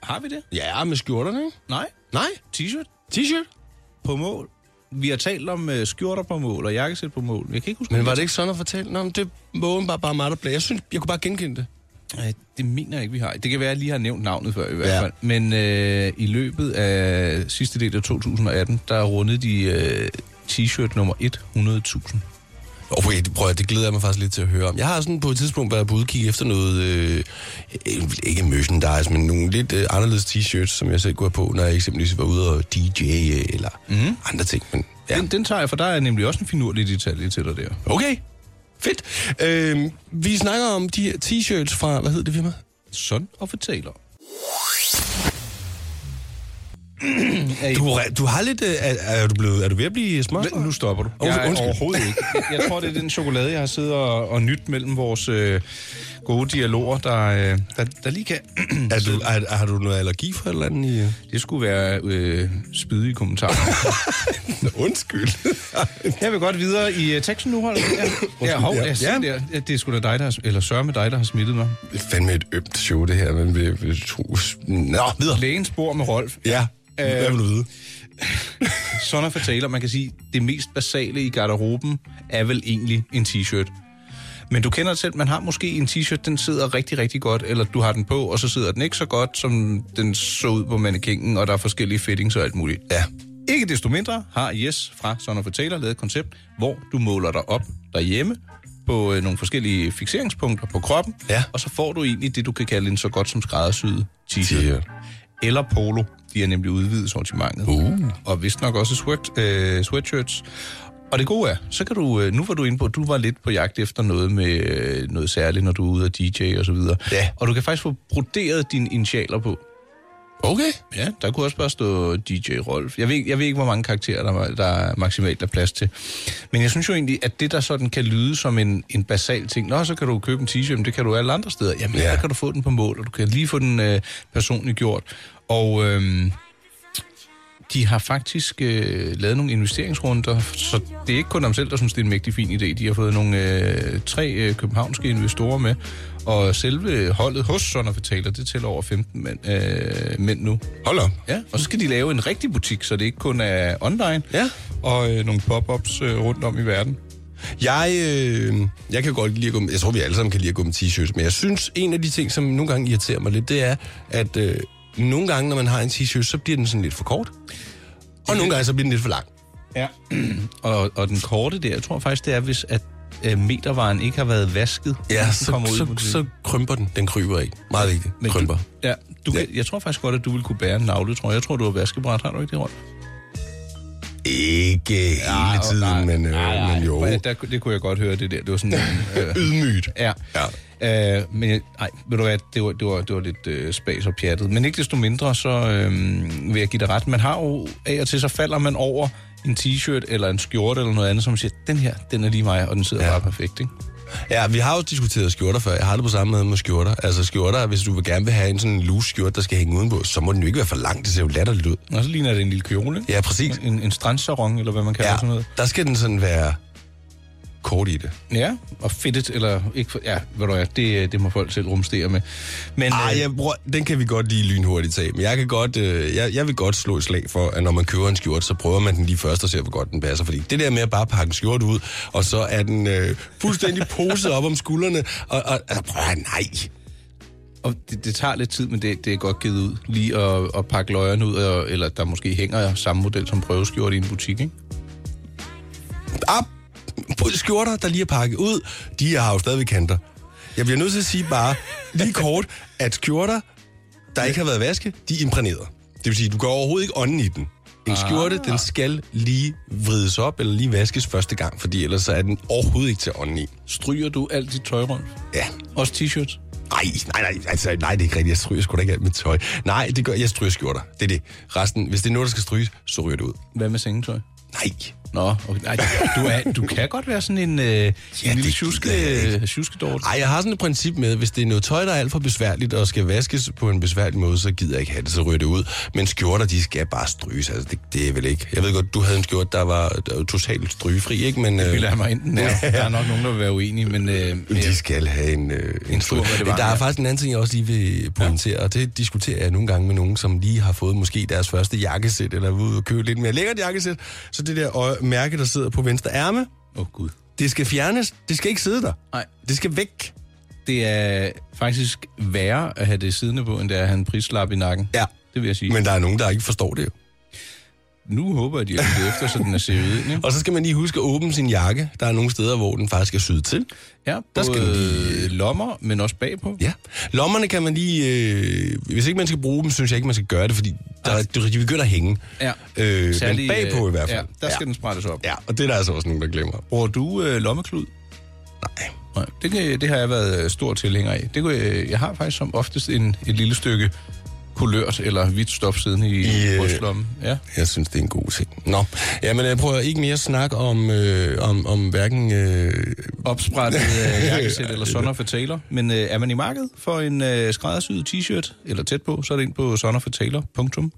C: Har vi det?
B: Ja, med skjorterne, ikke?
C: Nej.
B: Nej.
C: T-shirt
B: T-shirt.
C: på mål. Vi har talt om øh, skjorter på mål og jakkesæt på mål. Jeg kan ikke huske,
B: Men var det ikke sådan at fortælle? Nå, men det var åbenbart bare mig, der blev. Jeg synes, jeg kunne bare genkende det.
C: Øh, det mener jeg ikke, vi har. Det kan være, at jeg lige har nævnt navnet før i hvert
B: Ja.
C: fald. Men øh, i løbet af sidste del af 2018, der rundede de øh, t-shirt nummer 100.000.
B: Og prøv, at- prøv at- det glæder jeg mig faktisk lidt til at høre om. Jeg har sådan på et tidspunkt været på udkig efter noget, øh, øh, ikke merchandise, men nogle lidt øh, anderledes t-shirts, som jeg selv kunne have på, når jeg eksempelvis var ude og DJ øh, eller mm. andre ting. Men,
C: Ja.
B: ja.
C: Den, den tager jeg, for der er nemlig også en finurlig detalje til dig der.
B: Øhm, Okay, fedt. Øh, vi snakker om de her t-shirts fra, hvad hed det firma?
C: Son of a Taylor.
B: Du, er- du har lidt... øh, Er, er, du blevet, er du ved at blive smart?
C: Men nu stopper du.
B: Jeg
C: Jeg
B: er
C: er
B: undskyld.
C: overhovedet ikke. Jeg tror, det er den chokolade, jeg har siddet og, og nyt mellem vores øh, gode dialoger, der, øh, der, der lige kan...
B: Er du, er, har du noget allergi for et eller andet i...
C: det skulle være øh, spydige kommentarer.
B: Undskyld.
C: Jeg vil godt videre i øh, teksten nu, Holger. Ja, ja, hov,
B: ja.
C: ja.
B: Ja.
C: Ja. Der. Ja, det er sgu da dig, der har, eller sørme med dig, der har smittet mig.
B: det er fandme et ømt show, det her. Men vi, vi to... Nå, videre.
C: Lægen spor med Rolf.
B: Ja,
C: Øh.
B: hvad vil du vide?
C: Sådan er fortaler, man kan sige, det mest basale i garderoben er vel egentlig en t-shirt. Men du kender det selv, man har måske en t-shirt, den sidder rigtig, rigtig godt, eller du har den på, og så sidder den ikke så godt, som den så ud på mannequingen, og der er forskellige fittings og alt muligt.
B: Ja.
C: Ikke desto mindre har Jes fra Son of a Taylor lavet et koncept, hvor du måler dig op derhjemme på øh, nogle forskellige fixeringspunkter på kroppen,
B: Ja.
C: og så får du egentlig det, du kan kalde en så godt som skræddersyet t-shirt.
B: T-shirt.
C: Eller polo. De er nemlig udvidet sortimentet. Uh. Og vist nok også sweat, øh, sweatshirts. Og det gode er, så kan du, øh, nu var du inde på, at du var lidt på jagt efter noget med øh, noget særligt, når du er ude og DJ og så videre.
B: Ja.
C: Og du kan faktisk få broderet dine initialer på.
B: Okay.
C: Ja, der kunne også bare stå DJ Rolf. Jeg ved, ikke- jeg ved ikke, hvor mange karakterer, der, var- der maksimalt er plads til. Men jeg synes jo egentlig, at det, der sådan kan lyde som en, en basal ting, nå, så kan du købe en t-shirt, men det kan du alle andre steder. Jamen,
B: Ja.
C: ja. der kan du få den på mål, og du kan lige få den øh, personligt gjort. Og øhm, de har faktisk øh, lavet nogle investeringsrunder, så det er ikke kun dem selv, der synes, det er en mægtig fin idé. De har fået nogle øh, tre øh, københavnske investorer med, og selve holdet hos Son of a Taylor, det tæller over 15 mænd, øh, mænd nu.
B: Hold op.
C: Ja, og så skal de lave en rigtig butik, så det ikke kun er online.
B: Ja.
C: Og øh, nogle pop-ups øh, rundt om i verden.
B: Jeg, øh, jeg kan godt lide at gå med, jeg tror vi alle sammen kan lide at gå med t-shirts, men jeg synes, en af de ting, som nogle gange irriterer mig lidt, det er, at øh, nogle gange, når man har en t-shirt, så bliver den sådan lidt for kort, og nogle gange, så bliver den lidt for lang.
C: Ja. og, og den korte der, jeg tror faktisk, det er, hvis at øh, metervaren ikke har været vasket.
B: Ja,
C: den
B: så,
C: kommer ud i
B: så, så,
C: butikken.
B: krymper den. Den kryber ikke. Meget vigtigt.
C: Men
B: krymper.
C: Du, ja, du kan, jeg tror faktisk godt, at du vil kunne bære en navle, tror jeg. Jeg tror, du har vaskebræt. Har du ikke det, Rolf?
B: Ikke hele tiden, nej, men, øh, nej, nej, men jo.
C: Ja, der, det kunne jeg godt høre, det der. Det var sådan... øh,
B: Ydmygt.
C: Ja.
B: Ja.
C: Øh, men jeg- nej, ved du hvad, det var, det var, det var lidt øh, spas og pjattet. Men ikke desto mindre, så øh, vil jeg give dig ret. Man har jo af og til, så falder man over en t-shirt eller en skjorte eller noget andet, som siger, den her, den er lige mig, og den sidder
B: Ja.
C: ja. bare perfekt, ikke?
B: Ja, vi har jo diskuteret skjorter før. Jeg har det på samme måde med skjorter. Altså skjorter, hvis du vil gerne vil have en sådan loose skjorte, der skal hænge udenpå, så må den jo ikke være for lang. Det ser jo latterligt ud.
C: Og så ligner det en lille kjole, ikke?
B: Ja, præcis.
C: En, en strandsarong, eller hvad man kalder
B: Ja,
C: ja. sådan noget.
B: der skal den sådan være kort i det.
C: Ja, og fedtet, eller ikke... for- Ja, ved du hvad, det, det må folk selv rumstere med. Men,
B: Ej,
C: øh,
B: jeg, bror, den kan vi godt lige lynhurtigt tage. Men jeg, kan godt, øh, jeg, jeg vil godt slå et slag for, at når man køber en skjorte, så prøver man den lige først og ser, hvor godt den passer. Fordi det der med at bare pakke en skjorte ud, og så er den øh, fuldstændig poset op om skuldrene. Og, og altså, prøv, at- nej.
C: Og det, det tager lidt tid, men det, det er godt givet ud. Lige at, at pakke løgerne ud, og, eller der måske hænger samme model som prøveskjort i en butik, ikke?
B: Op. Skjorter, der lige er pakket ud, de har jo stadigvæk kanter. Jeg bliver nødt til at sige bare lige kort, at skjorter, der ikke har været vaske, de er imprægneret. Det vil sige, du går overhovedet ikke ånden i den. En skjorte, den skal lige vrides op, eller lige vaskes første gang, fordi ellers så er den overhovedet ikke til ånden i.
C: Stryger du alt dit tøj rundt?
B: Ja.
C: Også t-shirts?
B: Ej, nej, nej, altså, nej, det er ikke rigtigt. Jeg stryger sgu da ikke alt mit tøj. Nej, det gør, jeg stryger skjorter. Det er det. Resten, hvis det er noget, der skal stryges, så ryger det ud.
C: Hvad med sengetøj?
B: Nej.
C: Nå, okay. Nej, du, er, du kan godt være sådan en, øh, ja, en lille
B: det
C: tjuske,
B: gider jeg ikke.
C: øh, tjuskedort.
B: Ej, jeg har sådan et princip med, hvis det er noget tøj, der er alt for besværligt og skal vaskes på en besværlig måde, så gider jeg ikke have det, så ryger det ud. Men skjorter, de skal bare stryges. Altså, det, det er vel ikke. Jeg ved godt, du havde en skjorte, der var, der var totalt strygefri, ikke? Men,
C: Det
B: øh,
C: vil jeg mig enten er. Der er nok nogen, der vil være uenige, men... Øh,
B: Men
C: ja.
B: de skal have en, øh, en
C: tur
B: stryg.
C: med
B: Men
C: det
B: der
C: varme,
B: er
C: ja.
B: faktisk en anden ting, jeg også lige vil pointere, og det diskuterer jeg nogle gange med nogen, som lige har fået måske deres første jakkesæt, eller er ude og købe lidt mere lækkert jakkesæt. Så det der øje, mærke, der sidder på venstre ærme,
C: Åh, oh, Gud.
B: det skal fjernes. Det skal ikke sidde der.
C: Nej,
B: Det skal væk.
C: det er faktisk værre at have det siddende på, end det er at have en prislap i nakken.
B: Ja.
C: Det vil jeg sige. Men...
B: Men der er nogen, der ikke forstår det jo.
C: Nu håber jeg, at de har det efter, så den er seriød. Ikke?
B: Og så skal man lige huske at åbne sin jakke. Der er nogle steder, hvor den faktisk er syet til.
C: Ja,
B: Der
C: der
B: skal
C: skal lige... lommer, men også bagpå.
B: Ja. Lommerne kan man lige... Øh, hvis ikke man skal bruge dem, synes jeg ikke, man skal gøre det, fordi der, de begynder at hænge.
C: Ja.
B: Øh, men
C: Særlig,
B: bagpå i hvert fald.
C: Ja, der skal ja. den sprettes op.
B: Ja, og det er der altså også nogen, der glemmer.
C: Bruger du øh, lommeklud?
B: Nej.
C: Nej, det, kan- det har jeg været øh, stor tilhænger af. Det, kunne jeg, jeg har faktisk som oftest en, et lille stykke kulørt eller hvidt stof siden i
B: I,
C: yeah.
B: øh,
C: brystlommen. Ja.
B: Jeg synes, det er en god ting. Nå, jamen øh, prøv at ikke mere snak om, øh, om, om hverken... Øh,
C: Opsprættet øh, jakkesæt eller Sonner for Taylor. Men øh, er man i markedet for en øh, skræddersyet t-shirt, eller tæt på, så er det ind på sonnerfortaylor.com.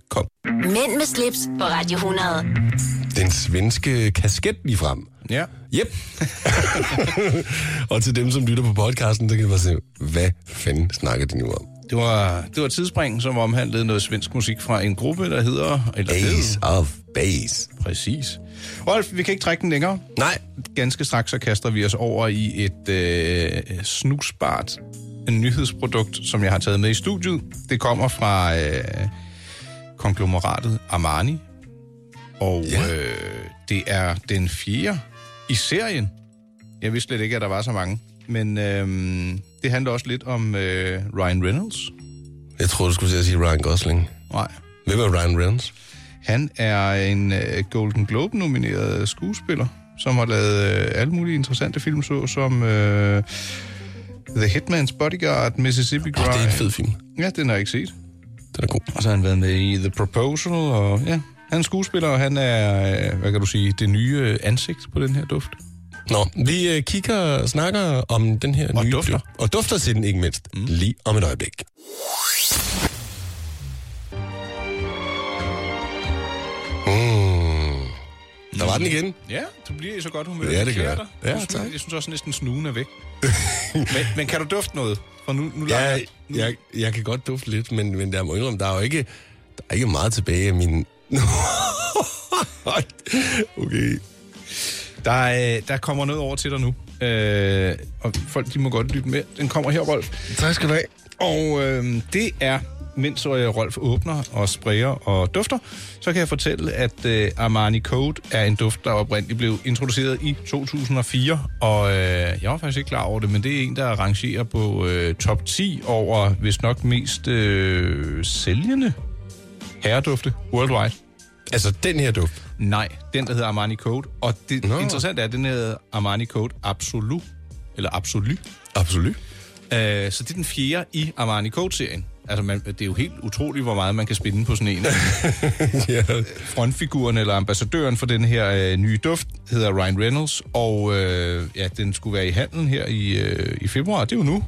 A: Mænd med slips på Radio 100.
B: den svenske kasket lige frem.
C: Ja.
B: Yep. og til dem, som lytter på podcasten, der kan det bare se, hvad fanden snakker de nu om?
C: Det var, det var et tidsspring, som omhandlede noget svensk musik fra en gruppe, der hedder... Eller
B: Ace
C: hed-
B: of Base.
C: Præcis. Rolf, vi kan ikke trække den længere.
B: Nej,
C: Ganske straks så kaster vi os over i et øh, snusbart nyhedsprodukt, som jeg har taget med i studiet. Det kommer fra øh, konglomeratet Armani, og
B: Ja.
C: ja. øh, det er den fjerde i serien. Jeg vidste slet ikke, at der var så mange, men øh, det handler også lidt om øh, Ryan Reynolds.
B: jeg tror du skulle til at sige Ryan Gosling.
C: Nej,
B: Hvem er Ryan Reynolds?
C: Han er en øh, Golden Globe-nomineret skuespiller, som har lavet øh, alle mulige interessante film, såsom øh, The Hitman's Bodyguard, Mississippi
B: Oh,
C: Grind.
B: det er en fed film.
C: Ja, den har jeg ikke set.
B: Den er god.
C: Og så har han været med i The Proposal, og ja, han er skuespiller, og han er, øh, hvad kan du sige, det nye øh, ansigt på den her duft.
B: Nå, vi øh, kigger og snakker om den her
C: Og
B: nye...
C: dufter.
B: Og dufter til den, ikke mindst. Mm. Lige om et øjeblik. Mm. Der var den igen.
C: Ja, du bliver i så godt humør.
B: Ja, det gør jeg.
C: klæder dig.
B: Ja,
C: jeg, synes,
B: tak.
C: jeg synes også næsten snuen er væk. men, men kan du dufte noget? For nu, nu lader
B: Jeg,
C: nu-
B: jeg, jeg kan godt dufte lidt, men, men der må indrømme, der er jo ikke, der er ikke meget tilbage af min... okay.
C: Der, øh, der kommer noget over til dig nu. Øh, og folk, de må godt lytte med. Den kommer her, Rolf.
B: Tak skal du have.
C: Og øh, det er, mens øh, Rolf åbner og sprayer og dufter, så kan jeg fortælle, at øh, Armani Code er en duft, der oprindeligt blev introduceret i 2004. Og øh, jeg var faktisk ikke klar over det, men det er en, der rangerer på øh, top 10 over, hvis nok mest øh, sælgende herredufte worldwide.
B: Altså, den her duft.
C: Nej, den der hedder Armani Code. Og det
B: Nå.
C: no. interessante er, at den hedder Armani Code Absolut. Eller Absolut.
B: Absolut.
C: Øh, så det er den fjerde i Armani Code-serien. Altså, man, det er jo helt utroligt, hvor meget man kan spinde på sådan en.
B: ja.
C: Frontfiguren eller ambassadøren for den her øh, nye duft hedder Ryan Reynolds, og øh, ja, den skulle være i handlen her i, øh, i februar. Det er jo nu.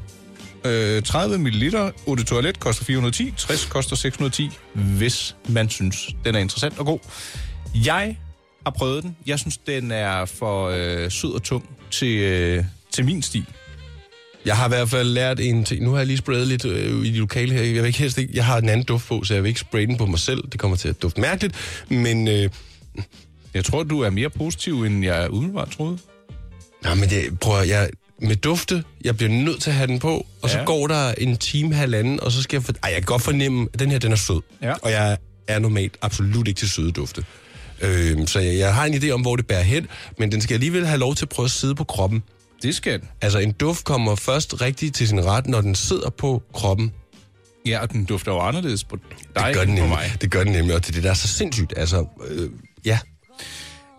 C: Øh, 30 ml, 8 toilet koster 410, 60 koster 610, hvis man synes, den er interessant og god. Jeg har prøvet den. Jeg synes, den er for øh, sød og tung til, øh, til min stil.
B: Jeg har i hvert fald lært en ting. Nu har jeg lige sprayet lidt øh, i det lokale her. Jeg vil ikke helst ikke, jeg har en anden duft på, så jeg vil ikke spraye den på mig selv. Det kommer til at dufte mærkeligt, men... Øh,
C: Jeg tror, du er mere positiv, end jeg umiddelbart troede.
B: nej, men det, prøv at, jeg, med dufte, jeg bliver nødt til at have den på, og ja. så
C: Ja.
B: går der en time, halvanden, og så skal jeg... For, ej, jeg kan godt fornemme, at den her, den er sød.
C: Ja.
B: Og jeg er normalt absolut ikke til søde dufte. Øh, så jeg, jeg har en idé om, hvor det bærer hen, men den skal alligevel have lov til at prøve at sidde på kroppen.
C: Det skal den.
B: Altså, en duft kommer først rigtig til sin ret, når den sidder på kroppen.
C: Ja, og den dufter jo anderledes på dig
B: det gør den
C: end på
B: nemlig.
C: mig.
B: Det gør den nemlig, og det er det, der er så sindssygt. Altså, øh, ja.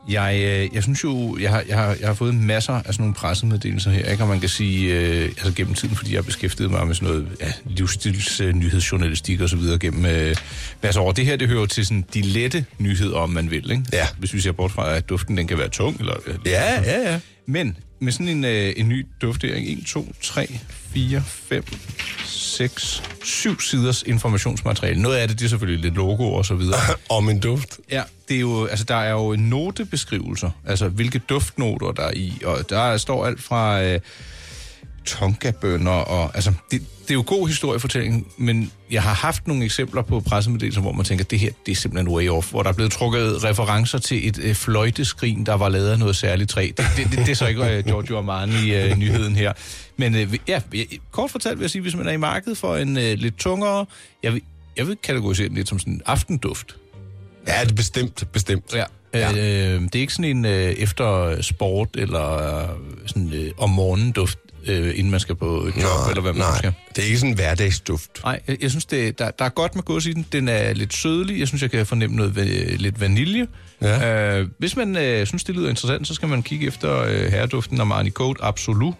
C: Jeg, øh, jeg synes jo, jeg har, jeg, har, jeg har fået masser af sådan nogle pressemeddelelser her, ikke? og man kan sige, øh, altså gennem tiden, fordi jeg har beskæftiget mig med sådan noget ja, livsstils, øh, nyhedsjournalistik og så videre gennem øh, masser af år. Det her, det hører jo til sådan de lette nyheder, om man vil, ikke?
B: Ja.
C: Hvis vi ser bort fra, at duften, den kan være tung, eller... øh.
B: Ja, ja, ja.
C: Men med sådan en, øh, en ny duftering, 1, 2, 3, 4, 5, 6, 7 siders informationsmateriale. Noget af det, det er selvfølgelig lidt logo og så videre.
B: Om en duft.
C: Ja, det er jo, altså, der er jo notebeskrivelser, altså hvilke duftnoter der er i, og der står alt fra øh, tonkabønner, og altså, det, det er jo god historiefortælling, men jeg har haft nogle eksempler på pressemeddelelser, hvor man tænker, det her, det er simpelthen way off, hvor der er blevet trukket referencer til et øh, fløjteskrin, der var lavet af noget særligt træ. Det, det, det, det er så ikke øh, Giorgio Armani-nyheden her. Men øh, ja, jeg- kort fortalt vil jeg sige, hvis man er i markedet for en øh, lidt tungere, jeg vil, jeg vil kategorisere den lidt som sådan en aftenduft.
B: Ja, det er bestemt, bestemt.
C: Ja. Øh, det er ikke sådan en øh, efter sport eller øh, sådan øh, om morgenen duft. øh, inden man skal på job, nej, eller hvad man
B: nej.
C: skal.
B: Det er ikke sådan en hverdagsduft.
C: Nej, jeg, jeg synes, det, der, der er godt med gås i den. Den er lidt sødlig. Jeg synes, jeg kan fornemme noget va- lidt vanilje.
B: Ja.
C: Øh, hvis man øh, synes, det lyder interessant, så skal man kigge efter øh, herreduften Armani Code Absolut.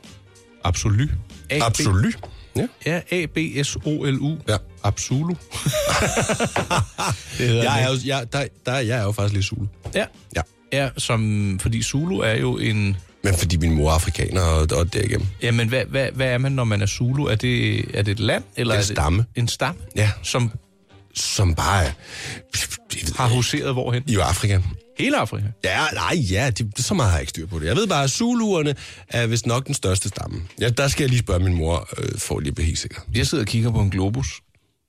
C: Absolut. A- B-
B: Absolut. Ja.
C: Ja, A-B-S-O-L-U.
B: Ja.
C: Absolut. det hedder
B: Jeg
C: den.
B: er, jo, jeg, der, der, jeg er jo faktisk lidt sul.
C: Ja.
B: Ja.
C: ja, som, fordi Zulu er jo en...
B: Men fordi min mor er afrikaner, og, og derigennem.
C: Jamen, hvad, hvad, hvad er man, når man er Zulu? Er det, er det et land? Eller
B: En
C: er det
B: stamme.
C: En stamme?
B: Ja.
C: Som
B: Som bare er... pff, det ved
C: har
B: jeg
C: huseret hvorhen?
B: ikke. I Afrika.
C: Hele Afrika.
B: Ja, nej, ja, det, det, så meget har jeg ikke styr på det. Jeg ved bare, at Zuluerne er vist nok den største stamme. Ja, der skal jeg lige spørge min mor, øh, for lige at blive helt sikker.
C: Jeg sidder og kigger på en globus,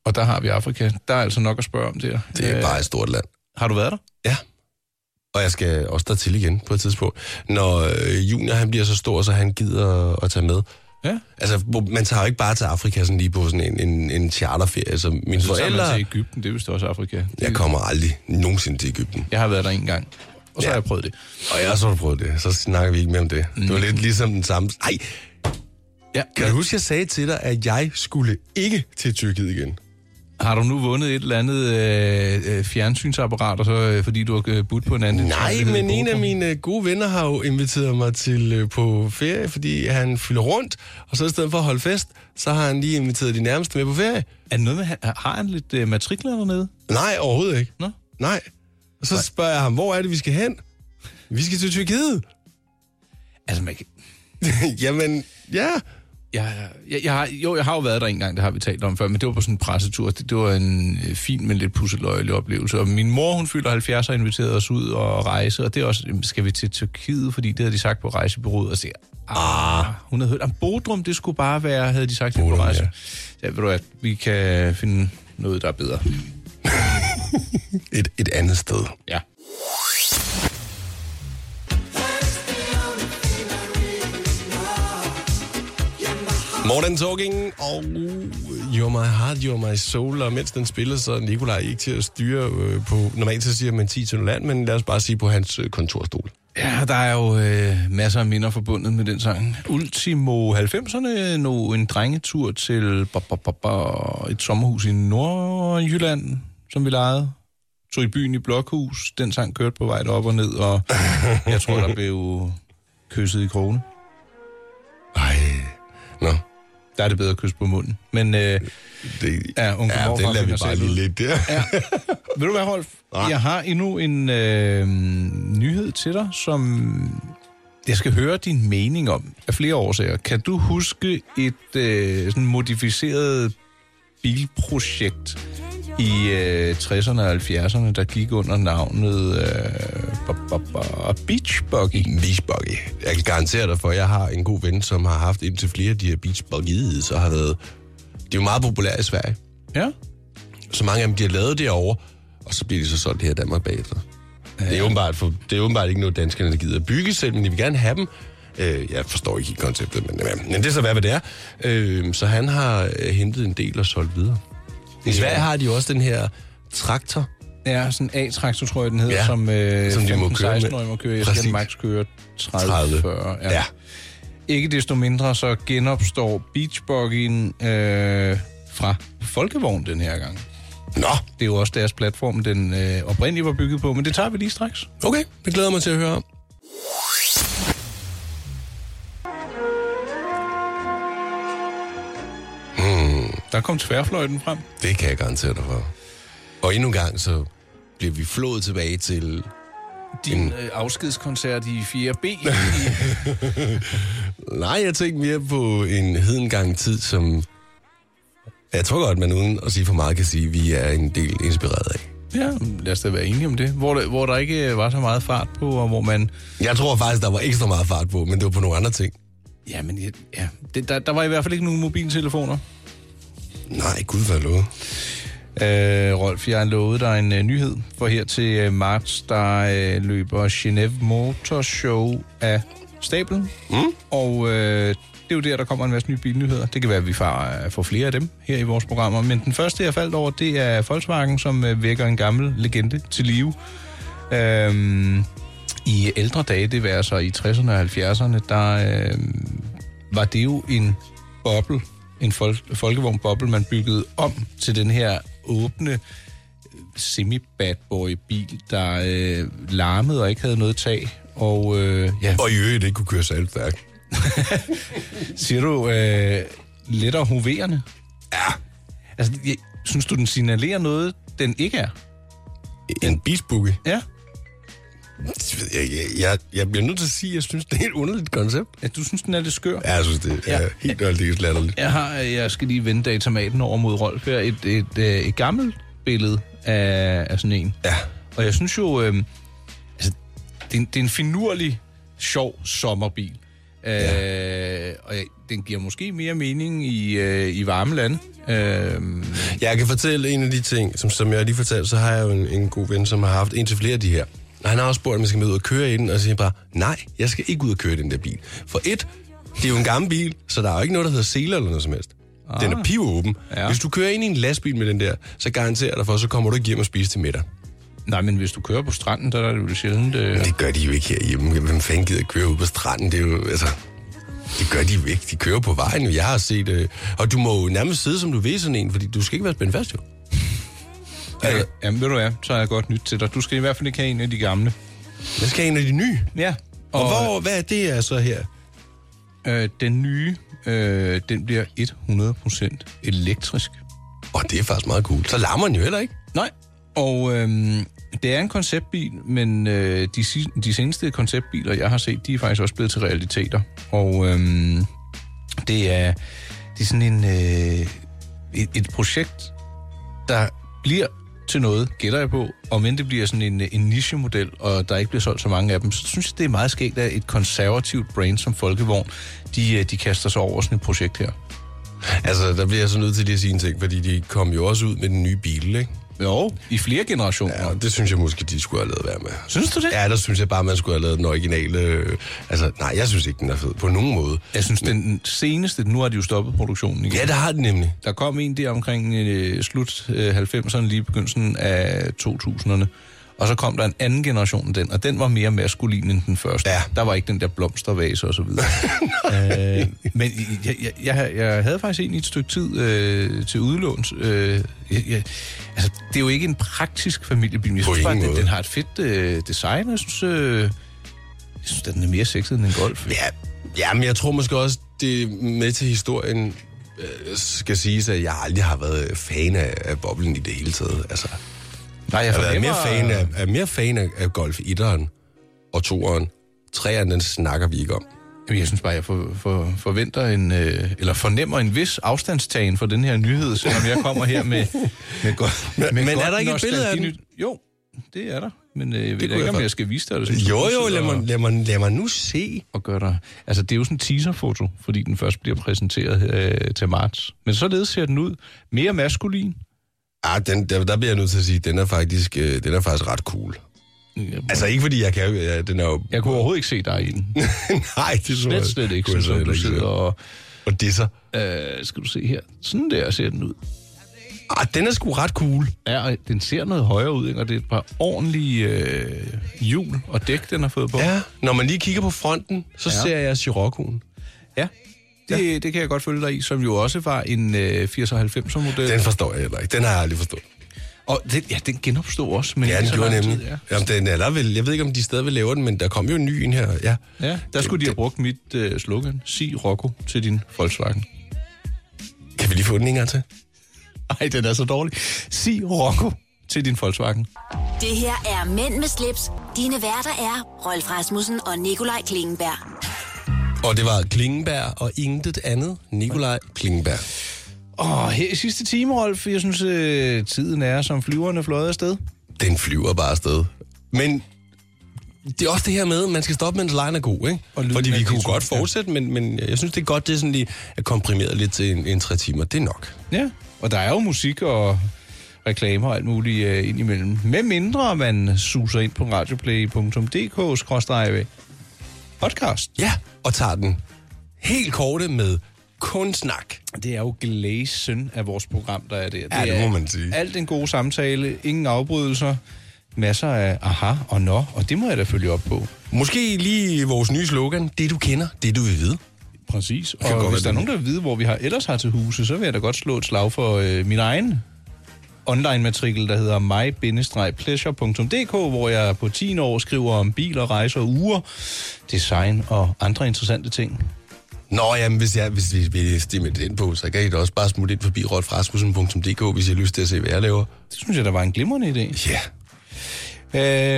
C: og der har vi Afrika. Der er altså nok at spørge om der.
B: Det er
C: Øh,
B: bare et stort land.
C: Har du været der?
B: Ja. Og jeg skal også dertil igen på et tidspunkt. Når øh, junior han bliver så stor, så han gider at, at tage med.
C: Ja.
B: Altså, hvor- man tager jo ikke bare til Afrika sådan lige på sådan en, en, en charterferie. Altså, Så mine
C: Så tager man
B: forældre...
C: til Ægypten, det er vist også Afrika. Det-
B: Jeg kommer aldrig nogensinde til Ægypten.
C: Jeg har været der en gang, og
B: Ja.
C: så har jeg prøvet det.
B: Og jeg har så prøvet det. Så snakker vi ikke mere om det. Det var lidt ligesom den samme... Nej,
C: Ja.
B: kan du huske, jeg sagde til dig, at jeg skulle ikke til Tyrkiet igen?
C: Har du nu vundet et eller andet øh, øh, fjernsynsapparat, og så, øh, fordi du har øh, budt på en anden?
B: Nej,
C: tilfældighed i
B: men en af
C: Bochum?
B: mine øh, gode venner har jo inviteret mig til øh, på ferie, fordi han fylder rundt, og så i stedet for at holde fest, så har han lige inviteret de nærmeste med på ferie.
C: Er det noget med, han- har han lidt øh, matrikler dernede?
B: Nej, overhovedet ikke.
C: Nå?
B: Nej. Og så spørger jeg ham, hvor er det, vi skal hen? Vi skal til Tyrkiet.
C: Altså, man kan...
B: Jamen, ja.
C: Jeg, jeg, jeg har, jo, jeg har jo været der en gang, det har vi talt om før, men det var på sådan en pressetur. Det, det var en øh, fin, men lidt pusseløjelig oplevelse. Og min mor, hun fylder 70 og inviterede os ud og rejse, og det er også, jamen, skal vi til Tyrkiet, fordi det havde de sagt på rejsebureauet, og så ah, hun havde hørt, om Bodrum, det skulle bare være, havde de sagt Bodrum, på
B: Bodrum,
C: rejse.
B: ja.
C: Ja. ved du at vi kan finde noget, der er bedre.
B: Et, et andet sted.
C: Ja.
B: Morten Talking og øh, You're My Heart, You're My Soul. Og mens den spiller, så er Nikolaj ikke til at styre øh, på... Normalt så siger man 10 til land, men lad os bare sige på hans øh, kontorstol.
C: Ja, og der er jo øh, masser af minder forbundet med den sang. Ultimo 90'erne, nu en drengetur til ba, ba, ba, ba, et sommerhus i Nordjylland, som vi lejede. Tog i byen i Blokhus, den sang kørte på vej op og ned, og jeg tror, der blev kysset i krone.
B: Ej. Nå,
C: Der er det bedre at kysse på munden. Men øh,
B: det,
C: ja, onkel
B: ja,
C: morfar
B: det lader vi
C: finder
B: bare
C: selv ud.
B: lige lidt der. Ja.
C: Ved du hvad, Rolf?
B: Nej.
C: Jeg har endnu en øh, nyhed til dig, som jeg skal høre din mening om af flere årsager. Kan du huske et øh, sådan modificeret bilprojekt i øh, 60'erne og 70'erne, der gik under navnet øh, ba, ba, ba, Beach Buggy?
B: Beachbuggy. Jeg kan garantere dig for, at jeg har en god ven, som har haft indtil flere af de her beachbuggies, og har været... De er jo meget populære i Sverige.
C: Ja?
B: Så mange af dem, de har lavet derovre, og så bliver de så solgt her i Danmark bagefter. Ja. Det, er åbenbart for, det er åbenbart ikke noget, danskerne der gider at bygge selv, men de vil gerne have dem. Øh, jeg forstår ikke helt konceptet, men, ja, men det er så hvad, hvad det er. Øh, så han har øh, hentet en del og solgt videre. I Sverige har de jo også den her traktor.
C: Ja, sådan en A-traktor, tror jeg, den hedder,
B: Ja,
C: som, øh,
B: som de må
C: 15-16
B: køre med.
C: årige må køre. Jeg
B: Præcis.
C: skal max køre
B: 30.
C: 30-40.
B: Ja. ja.
C: Ikke desto mindre så genopstår Beachboggien øh, fra Folkevogn den her gang.
B: Nå,
C: Det er jo også deres platform, den øh, oprindeligt var bygget på, men det tager vi lige straks.
B: okay. Det glæder jeg mig til at høre om.
C: Der kom tværfløjten frem.
B: Det kan jeg garantere dig for. Og endnu en gang, så bliver vi flået tilbage til...
C: Din øh, afskedskoncert i 4B.
B: Nej, jeg tænker mere på en hedengang tid, som... Jeg tror godt, man uden at sige for meget kan sige, at vi er en del inspireret af.
C: ja, lad os da være enige om det. Hvor, der- hvor der ikke øh, var så meget fart på, og hvor man...
B: Jeg tror faktisk, der var ekstra meget fart på, men det var på nogle andre ting.
C: Jamen, ja, ja det, der, der var i hvert fald ikke nogen mobiltelefoner.
B: Nej, gud for lov.
C: Øh, Rolf, jeg har lovet dig en øh, nyhed, for her til øh, marts, der øh, løber Genève Motor Show af stablen. Mm. Og øh, det er jo der, der kommer en masse nye bilnyheder. Det kan være, at vi får, øh, får flere af dem her i vores programmer. Men den første, jeg faldt over, det er Volkswagen, som øh, vækker en gammel legende til live. Øhm, I ældre dage, det vil altså i 60'erne og 70'erne, der øh, var det jo en boble, en fol- folkevognboble, man byggede om til den her åbne semi-bad boy-bil, der øh, larmede og ikke havde noget tag. Og øh, ja,
B: Og i øvrigt ikke kunne køre særlig stærkt.
C: siger du øh, lettere hoverende?
B: Ja,
C: Altså, jeg, synes du, den signalerer noget, den ikke er?
B: en bisbukke.
C: Ja.
B: Jeg, jeg, jeg, jeg bliver nødt til at sige, at jeg synes, det er et underligt koncept.
C: ja du synes, den er lidt skør?
B: Ja, jeg synes, det er
C: Ja.
B: ja. helt aldeles latterligt.
C: Jeg, har, øh, jeg skal lige vende datamaten over mod Rolf her. Et, et, øh, et gammelt billede af, af sådan en.
B: Ja.
C: Og jeg synes jo, øh, altså, det, er en, det er en finurlig, sjov sommerbil. Ja. Øh, og jeg, den giver måske mere mening i, øh, i varme lande. Øh,
B: Jeg kan fortælle en af de ting, som, som jeg lige fortalte, så har jeg jo en, en god ven, som har haft en til flere af de her. Og han har også spurgt, om jeg skal med ud og køre i den, og så siger jeg bare, nej, jeg skal ikke ud og køre i den der bil. For et, det er jo en gammel bil, så der er jo ikke noget, der hedder seler eller noget som helst. Den er pivåben.
C: Ja.
B: Ja. Hvis du kører ind i en lastbil med den der, så garanterer jeg dig for, så kommer du ikke hjem og spise til middag.
C: nej, men hvis du kører på stranden, der er det jo sjældent... Øh,
B: Det gør de jo ikke herhjemme. Hvem fanden gider køre ud på stranden? Det er jo, altså... Det gør de jo ikke. De kører på vejen, jo. jeg har set. Øh, og du må jo nærmest sidde, som du ved, sådan en, fordi du skal ikke være spændt fast, jo.
C: Ja, jamen ved du hvad, så har jeg godt nyt til dig. Du skal i hvert fald ikke have en af de gamle.
B: Jeg skal have en af de nye.
C: Ja.
B: Og, og hvor, hvad er det er så her?
C: Øh, den nye, øh, den bliver 100% elektrisk.
B: Og det er faktisk meget cool. Så larmer den jo heller ikke.
C: Nej. Og øh, det er en konceptbil, men øh, de, si- de seneste konceptbiler, jeg har set, de er faktisk også blevet til realiteter. Og øh, det, er, det er sådan en, øh, et, et projekt, der bliver til noget, gætter jeg på, og men det bliver sådan en, øh, en nichemodel, og der ikke bliver solgt så mange af dem, så synes jeg, det er meget skægt, at et konservativt brand som Folkevogn, de, øh, de kaster sig over sådan et projekt her.
B: Altså, der bliver jeg så nødt til lige at sige en ting, fordi de kom jo også ud med den nye bil, ikke?
C: Jo, i flere generationer.
B: Ja,
C: Ja.
B: og det synes jeg måske, de skulle have lavet være med.
C: Synes du det?
B: Ja, der synes jeg bare, man skulle have lavet den originale... øh, Altså, nej, jeg synes ikke, den er fed på nogen måde.
C: Jeg synes, den seneste, nu har de jo stoppet produktionen igen.
B: Ja, det har den nemlig.
C: Der kom en der omkring øh, slut øh, 90'erne, lige begyndelsen af 2000'erne. Og så kom der en anden generation af den, og den var mere maskulin end den første.
B: Ja.
C: Der var ikke den der blomstervase og så videre. øh, men jeg, jeg, jeg, jeg havde faktisk en i et stykke tid øh, til udlåns. Øh, jeg, jeg, altså, det er jo ikke en praktisk familiebil. Jeg
B: På
C: synes bare,
B: ingen
C: den,
B: måde.
C: den har et fedt øh, design, og jeg synes, øh, jeg synes, den er mere sexet end en golf.
B: Ja, ja men jeg tror måske også, det med til historien øh, skal siges, at jeg aldrig har været fan af, af boblen i det hele taget. Altså,
C: Nej, jeg,
B: jeg har været
C: fornemmer-
B: mere fan af, er mere fan af, af golf 1'eren og 2'eren. 3'eren, den snakker vi ikke om.
C: Jamen, jeg synes bare, jeg for, for, forventer en, øh, eller fornemmer en vis afstandstagen for den her nyhed, selvom jeg kommer her med, med, go, med
B: men
C: godt
B: er der ikke et billede af den?
C: nostalginyt- Jo, det er der. Men øh, jeg ved
B: kunne
C: ikke,
B: jeg
C: om
B: godt.
C: jeg skal vise dig det. som
B: Jo,
C: du
B: jo,
C: sidder
B: lad mig,
C: og-
B: lad, mig, lad mig nu se.
C: Og gør dig. Altså, det er jo sådan en teaserfoto, fordi den først bliver præsenteret øh, til marts. Men således ser den ud. Mere maskulin.
B: Ah, den, der, der bliver jeg nødt til at sige, den er faktisk, øh, den er faktisk ret cool.
C: Jeg,
B: Altså ikke fordi jeg kan, ja, den er jo...
C: jeg kunne overhovedet ikke se dig i den.
B: Nej, det tror jeg-
C: Slet, slet ikke,
B: kunne jeg
C: sådan,
B: så
C: som
B: heller
C: du
B: ikke se.
C: sidder og...
B: Og det så.
C: Øh, skal du se her. Sådan der ser den ud.
B: Ah, den er sgu ret cool.
C: Ja, og den ser noget højere ud, ikke? og det er et par ordentlige øh, hjul og dæk, den har fået på.
B: Ja, når man lige kigger på fronten, så
C: Ja.
B: ja. ser jeg Sciroccoen.
C: ja. Det, det kan jeg godt følge dig i, som jo også var en øh, 80-90'er model.
B: Den forstår jeg heller ikke. Den har jeg aldrig forstået.
C: Og den, ja, den genopstod også. Men
B: Ja,
C: ikke
B: den
C: så
B: gjorde
C: lang tid,
B: nemlig.
C: ja.
B: Jamen, den er der vel. Jeg ved ikke, om de stadigvæk laver den, men der kom jo en ny en her. Ja.
C: ja, der skulle de have brugt mit øh, slogan, sig Rocco til din Volkswagen.
B: Kan vi lige få den en gang til?
C: Nej, den er så dårlig. Sig Rocco til din Volkswagen.
A: Det her er Mænd med slips. Dine værter er Rolf Rasmussen og Nikolaj Klingenberg.
B: Og det var Klingenberg og intet andet. Nikolaj Klingenberg.
C: Og her i sidste time, Rolf, jeg synes, øh, tiden er som flyverne fløjet afsted.
B: Den flyver bare afsted. Men det er også det her med, at man skal stoppe, mens lejen er god, ikke?
C: Og lyden
B: Fordi
C: af
B: vi kunne
C: ditto,
B: godt
C: ja.
B: fortsætte, men, men jeg synes, det er godt, det er sådan lige at komprimere lidt til en, en tre timer. Det er nok.
C: Ja, og der er jo musik og reklamer og alt muligt øh, indimellem. Med mindre man suser ind på radioplay.dk-podcast.
B: Ja, og tager den helt korte med kun snak.
C: Det er jo glæsen af vores program, der er der. Ja,
B: det må man sige.
C: Alt den gode samtale, ingen afbrydelser, masser af aha og nå, og det må jeg da følge op på.
B: Måske lige vores nye slogan, det du kender, det du vil vide.
C: Præcis.
B: kan
C: Og
B: godt
C: hvis der
B: være
C: er
B: det.
C: nogen, der vil vide, hvor vi har ellers har til huse, så vil jeg da godt slå et slag for øh, min egen online-matrikel, der hedder my-pleasure.dk, hvor jeg på 10 år skriver om biler, rejser, uger, design og andre interessante ting.
B: Nå, jamen, hvis, jeg, hvis vi vil stemme det ind på, så kan I da også bare smutte ind forbi rolfrasmussen.dk, hvis I har lyst til at se, hvad jeg laver.
C: Det synes jeg, der var en glimrende idé.
B: Ja. Yeah.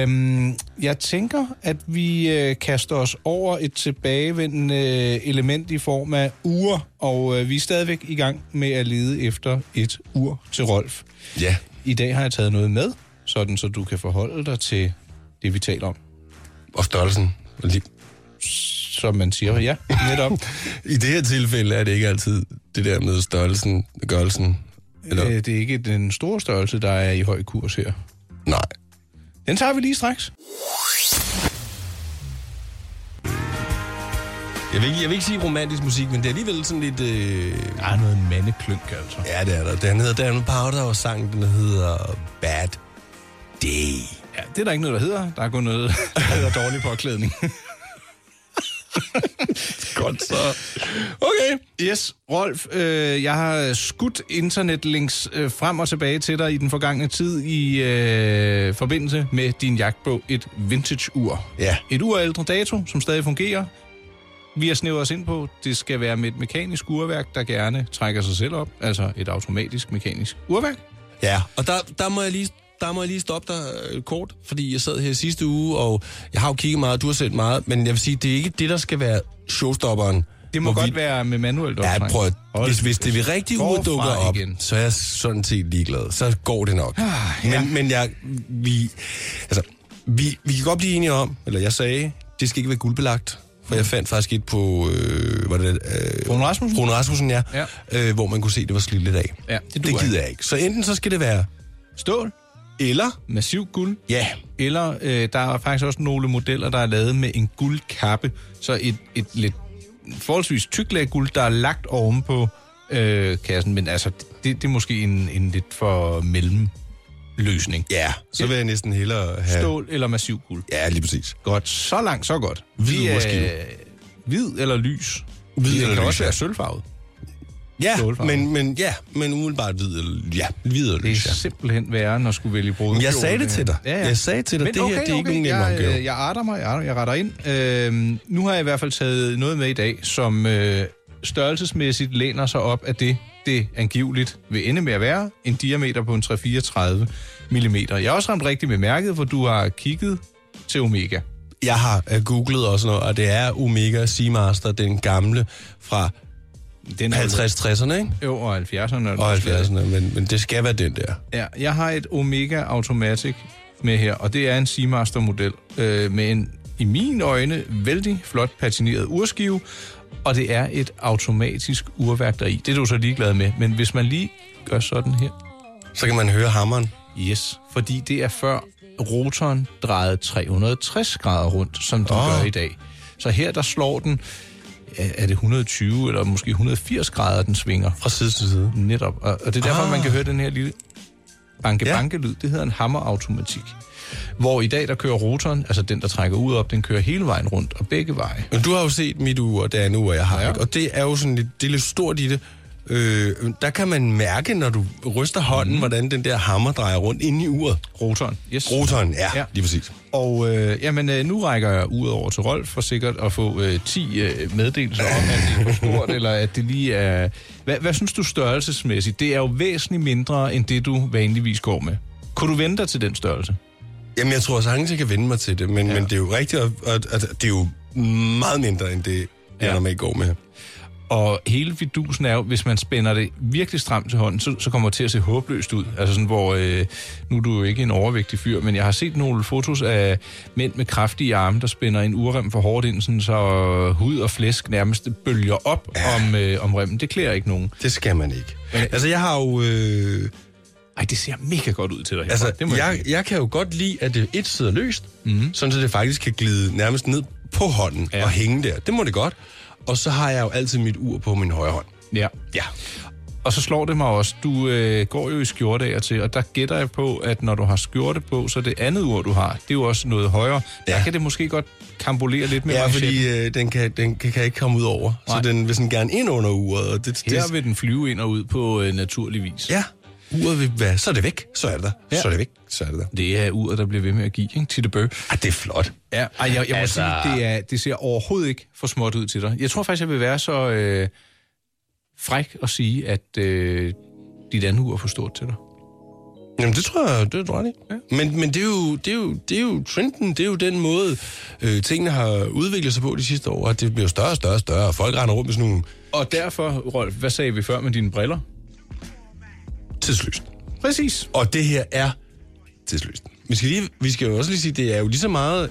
C: Øhm, jeg tænker, at vi øh, kaster os over et tilbagevendende øh, element i form af uger, og øh, vi er stadigvæk i gang med at lede efter et ur til Rolf.
B: Ja.
C: I dag har jeg taget noget med, sådan så du kan forholde dig til det, vi taler om.
B: Og størrelsen. Og lige-
C: Som man siger, ja, netop.
B: I det her tilfælde er det ikke altid det der med størrelsen, gørelsen. Eller,
C: Øh, det er ikke den store størrelse, der er i høj kurs her.
B: nej.
C: Den tager vi lige straks.
B: Jeg vil, ikke, jeg vil ikke sige romantisk musik, men det er alligevel sådan lidt... Øh...
C: Der er noget mandeklønk, altså.
B: Ja, det er der. Den hedder Dan Powder, og sangen den hedder Bad Day.
C: Ja, det er der ikke noget, der hedder. Der er kun noget, der hedder dårlig påklædning.
B: Godt så. Okay.
C: Yes, Rolf, øh, jeg har skudt internetlinks øh, frem og tilbage til dig i den forgangne tid i øh, forbindelse med din jagt på et vintage-ur.
B: Ja.
C: Et ur af ældre dato, som stadig fungerer. Vi har snævet os ind på, det skal være med et mekanisk urværk, der gerne trækker sig selv op. Altså et automatisk mekanisk urværk.
B: Ja, og der, der må jeg lige der må jeg lige stoppe dig øh, kort, fordi jeg sad her sidste uge, og jeg har jo kigget meget, og du har set meget, men jeg vil sige, det er ikke det, der skal være showstopperen.
C: Det må
B: hvor
C: godt være med manuelt optræk.
B: Ja, prøv at,
C: Hold
B: hvis, hvis det ved rigtig
C: Forfra
B: uge dukker op,
C: igen.
B: igen. så er jeg sådan set ligeglad. Så går det nok. Ah,
C: ja.
B: Men, men jeg, vi, altså, vi, vi kan godt blive enige om, eller jeg sagde, det skal ikke være guldbelagt. For jeg fandt faktisk et på, øh, var det, øh,
C: Rune Rasmussen?
B: Rune Rasmussen, ja.
C: Ja.
B: ja. Øh, hvor man kunne se, det var slidt lidt af.
C: Ja, det
B: det,
C: duer
B: det gider jeg ikke. Så enten så skal det være
C: Stål,
B: eller,
C: massiv guld,
B: ja,
C: Eller øh, der er faktisk også nogle modeller, der er lavet med en guldkappe. Så et, et lidt forholdsvis tyk lag guld, der er lagt ovenpå øh, kassen. Men altså, det, det er måske en, en lidt for mellemløsning.
B: ja, så vil jeg næsten hellere have...
C: Stål eller massiv guld.
B: Ja, lige præcis.
C: Godt. Så langt, så godt.
B: Hvid
C: er-
B: urskive.
C: Hvid eller lys.
B: Hvid
C: det
B: eller øh,
C: kan
B: lys,
C: også
B: ja.
C: være sølvfarvet.
B: Ja,
C: Stålfarve.
B: men, men, ja, men umiddelbart hvid, eller- ja, hvid og
C: Det
B: lys,
C: er
B: ja.
C: simpelthen værre, når skulle vælge brud.
B: Men jeg sagde det til dig.
C: Ja, ja.
B: Jeg sagde til dig,
C: Men
B: det her, det er ikke nogen nem
C: jeg,
B: opgave.
C: øh, Jeg arter mig, jeg, arter, jeg retter ind. Øhm, nu har jeg i hvert fald taget noget med i dag, som øh, størrelsesmæssigt læner sig op af det, det angiveligt vil ende med at være. En diameter på en 334 mm. Jeg har også ramt rigtigt med mærket, for du har kigget til Omega.
B: Jeg har øh, googlet og sådan noget, og det er Omega Seamaster, den gamle fra
C: Den
B: 50-60'erne, ikke?
C: Jo, og 70'erne.
B: Og 70'erne, men, men det skal være den der.
C: Ja, jeg har et Omega Automatic med her, og det er en Seamaster model øh, med en i mine øjne vældig flot patineret urskive, og det er et automatisk urværk deri. Det er du så ligeglad med, men hvis man lige gør sådan her,
B: Så kan man høre hammeren.
C: yes, fordi det er før rotoren drejede 360 grader rundt, som den oh.
B: Åh.
C: gør i dag. Så her der slår den, er er det 120 eller måske 180 grader, den svinger.
B: Fra side til side.
C: Netop. Og, og det er derfor, ah.
B: Ah.
C: man kan høre den her lille
B: Ja.
C: banke-banke-lyd. Det hedder en hammerautomatik. Hvor i dag, der kører rotoren, altså den, der trækker ud op, den kører hele vejen rundt og begge veje.
B: Men du har jo set mit ur, det er nu, jeg har,
C: Ja.
B: ja. ikke? Og det er jo sådan lidt, det er lidt stort i det. Øh, der kan man mærke, når du ryster hånden,
C: Mhm.
B: mm. hvordan den der hammer drejer rundt inde i uret.
C: Rotoren, yes.
B: Rotoren, ja,
C: Ja.
B: ja. lige præcis.
C: Og øh, jamen, øh, nu rækker jeg ud over til Rolf for sikkert at få øh, 10 øh, meddelelser om, at det er for stort, eller at det lige er... Hvad, hvad synes du størrelsesmæssigt? Det er jo væsentligt mindre, end det du vanligvis går med. Kunne du vente dig til den størrelse?
B: Jamen, jeg tror sagtens, jeg kan vende mig til det, men, ja. men det er jo rigtigt, at, at, at det er jo meget mindre, end det, jeg
C: Ja.
B: ja. normalt går med.
C: Og hele fidusen er jo, hvis man spænder det virkelig stramt til hånden, så, så kommer det til at se håbløst ud. Altså sådan, hvor, øh, nu er du jo ikke en overvægtig fyr, men jeg har set nogle fotos af mænd med kraftige arme, der spænder en urrem for hårdt ind, sådan, så hud og flæsk nærmest bølger op ja. om, øh, om remmen. Det klæder ikke nogen.
B: Det skal man ikke.
C: Men-
B: Altså, jeg har jo... Øh,
C: Ej, det ser mega godt ud til dig.
B: altså,
C: herfra. det må jeg,
B: jeg,
C: sige. Mhm.
B: jeg kan jo godt lide, at det et sidder løst, mm. sådan så det faktisk kan glide nærmest ned på hånden
C: Ja.
B: ja. og hænge der. Det må det godt. Og så har jeg jo altid mit ur på min højre hånd.
C: Ja.
B: Ja.
C: Og så slår det mig også, du øh, går jo i skjorte af og til, og der gætter jeg på, at når du har skjorte på, så det andet ur, du har, det er jo også noget højere. Ja.
B: Ja.
C: Der kan det måske godt kambolere lidt med
B: Ja,
C: manchetten.
B: fordi øh, den, kan, den kan, kan ikke komme ud over.
C: Nej.
B: Så den vil sådan gerne ind under uret. Og det,
C: Her
B: det,
C: vil den flyve ind og ud på øh, naturlig vis.
B: ja, uret vil være, så er det væk, så er det der.
C: Ja.
B: Ja. Så er det væk, så er det der.
C: Det er uret, der bliver ved med at give, ikke? Titte bøg.
B: Ah, det er flot.
C: Ja, ej, jeg, jeg må altså...
B: Altså-
C: sige, det, er, det ser overhovedet ikke for småt ud til dig. Jeg tror faktisk, jeg vil være så øh, fræk at sige, at øh, dit andet ur er for stort til dig.
B: Jamen, det tror jeg, det tror jeg ikke. Ja. Men, men det, er jo, det, er jo, det er jo trenden, det er jo den måde, øh, tingene har udviklet sig på de sidste år, og det bliver jo større og større og større, og folk render rundt med sådan nogle
C: Og derfor, Rolf, hvad sagde vi før med dine briller?
B: tidsløst.
C: Præcis.
B: Og det her er tidsløst. Vi skal, lige, vi skal jo også lige sige, det er jo lige så meget,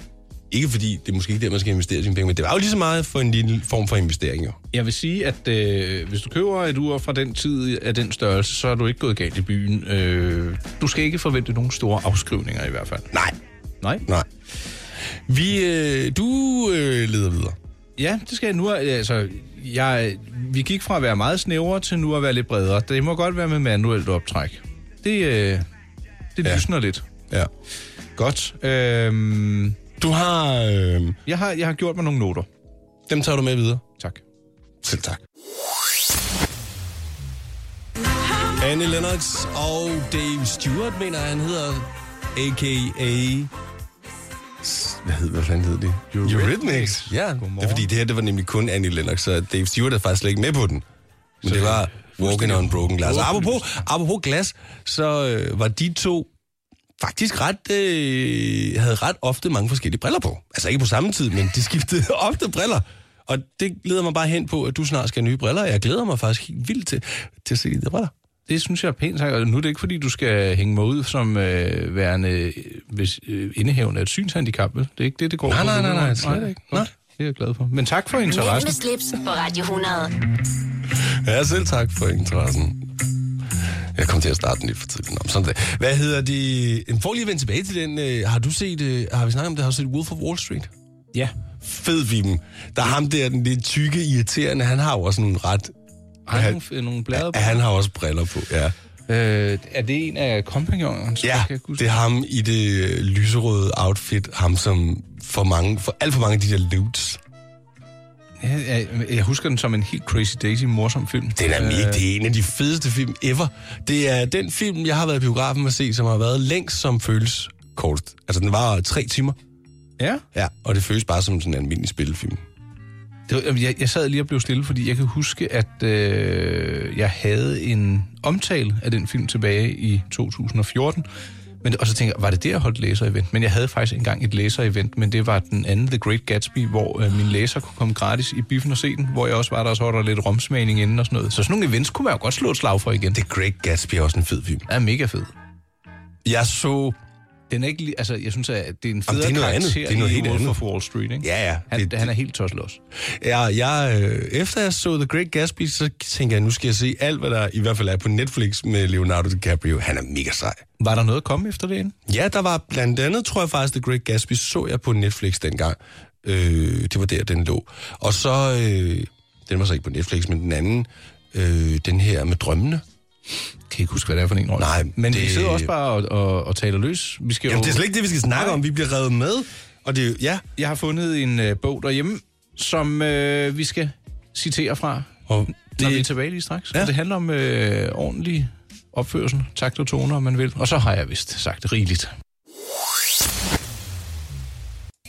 B: ikke fordi det er måske ikke der, man skal investere sine penge, men det var jo lige så meget for en lille form for investering, jo.
C: Jeg vil sige, at øh, hvis du køber et ur fra den tid af den størrelse, så er du ikke gået galt i byen. Øh, du skal ikke forvente nogen store afskrivninger i hvert fald.
B: Nej,
C: Nej.
B: nej. Vi, øh, du øh, leder videre.
C: Ja, det skal jeg nu. Altså, jeg, vi gik fra at være meget snævre til nu at være lidt bredere. Det må godt være med manuelt optræk. Det, øh, det
B: Ja.
C: lysner lidt.
B: Ja.
C: Godt. Øhm,
B: Du har... Øh,
C: jeg, har, jeg har gjort mig nogle noter.
B: dem tager du med videre.
C: Tak.
B: Selv tak. Annie Lennox og Dave Stewart, mener jeg, han hedder, a.k.a. S- Hvad, hed, hvad fanden hed de?
C: Eurythmics.
B: Ja,
C: Godmorgen.
B: det er fordi, det her det var nemlig kun Annie Lennox, så Dave Stewart er faktisk slet ikke med på den. Men det var Walking on Broken Glass. Og apropos, apropos glas, så øh, var de to faktisk ret, øh, havde ret ofte mange forskellige briller på. Altså ikke på samme tid, men de skiftede ofte briller. Og det leder mig bare hen på, at du snart skal have nye briller. Jeg glæder mig faktisk helt vildt til, til at se de der briller.
C: Det synes jeg er pænt sagt, og nu er det ikke, fordi du skal hænge mig ud som øh, værende øh, hvis, øh, indehævende af et synshandicap, vel? Det er ikke det, det går
B: Nej,
C: på
B: nej,
C: nu.
B: nej, nej, slet
C: det er
B: ikke.
C: Godt.
B: Nej.
C: Det er jeg glad for. Men tak for
A: Mænd med
C: interessen.
A: slips på Radio 100.
B: Ja, selv tak for interessen. Jeg kom til at starte den lidt for tidligt. Nå, sådan det. Hvad hedder de? Jamen, For lige at vende tilbage til den, øh, har du set, øh, har vi snakket om det, har du set Wolf of Wall Street?
C: Ja.
B: Fed viben. Der er ham der, den lidt tykke, irriterende, han har jo også nogle ret...
C: Har jeg nogle, nogle blader på?
B: Han har også briller på, ja.
C: Øh, er det en af kompagnonerne? så
B: Ja,
C: kan jeg ikke huske?
B: det er ham i det øh, lyserøde outfit, ham som for mange, for alt for mange af de der loots.
C: Ja, jeg, jeg husker den som en helt Crazy Daisy morsom film.
B: Den er mega, det er en af de fedeste film ever. Det er den film, jeg har været i biografen at se, som har været længst, som føles kort. Altså, den var tre timer.
C: Ja,
B: Ja, og det føles bare som sådan en almindelig spillefilm.
C: det var, jeg, jeg sad lige og blev stille, fordi jeg kan huske, at øh, jeg havde en omtale af den film tilbage i 2014. Men, og så tænkte jeg, var det der, jeg holdt læser-event? Men jeg havde faktisk engang et læser-event, men det var den anden, The Great Gatsby, hvor øh, min læser kunne komme gratis i biffen og se den, hvor jeg også var der, og så var der lidt romsmagning inden og sådan noget. Så sådan nogle events kunne man jo godt slå et slag for igen. Det
B: The Great Gatsby er også en fed film.
C: er mega fedt.
B: Jeg så...
C: Den er ikke lige, altså, jeg synes, at det er en
B: Jamen,
C: federe
B: det er noget
C: karakter
B: andet. Det er noget
C: i
B: helt
C: Wolf
B: andet.
C: of Wall Street, ikke?
B: Ja, ja.
C: Han,
B: Det-
C: det, Altså, han er helt toslos.
B: Jeg, jeg, øh, efter jeg så The Great Gatsby, så tænker jeg, nu skal jeg se alt, hvad der i hvert fald er på Netflix med Leonardo DiCaprio. Han er mega sej.
C: Var der noget at komme efter det inden?
B: Ja, der var blandt andet, tror jeg faktisk, The Great Gatsby så jeg på Netflix dengang. Øh, det var der, den lå. Og så, øh, den var så ikke på Netflix, men den anden, øh, den her med drømmene.
C: Kan ikke huske, hvad det er for en, Rolf.
B: Nej,
C: Men det... vi
B: det-
C: sidder også bare og, og, og taler løs. Vi skal
B: Jamen,
C: jo...
B: det er slet ikke det, vi skal snakke om. Vi bliver revet med. Og det, ja.
C: Jeg har fundet en øh, bog derhjemme, som øh, vi skal citere fra,
B: Og
C: når vi er
B: det,
C: tilbage lige straks. Ja.
B: Ja.
C: Og det handler om øh, ordentlig opførsel, takt og toner, om man vil. Og så har jeg vist sagt rigeligt.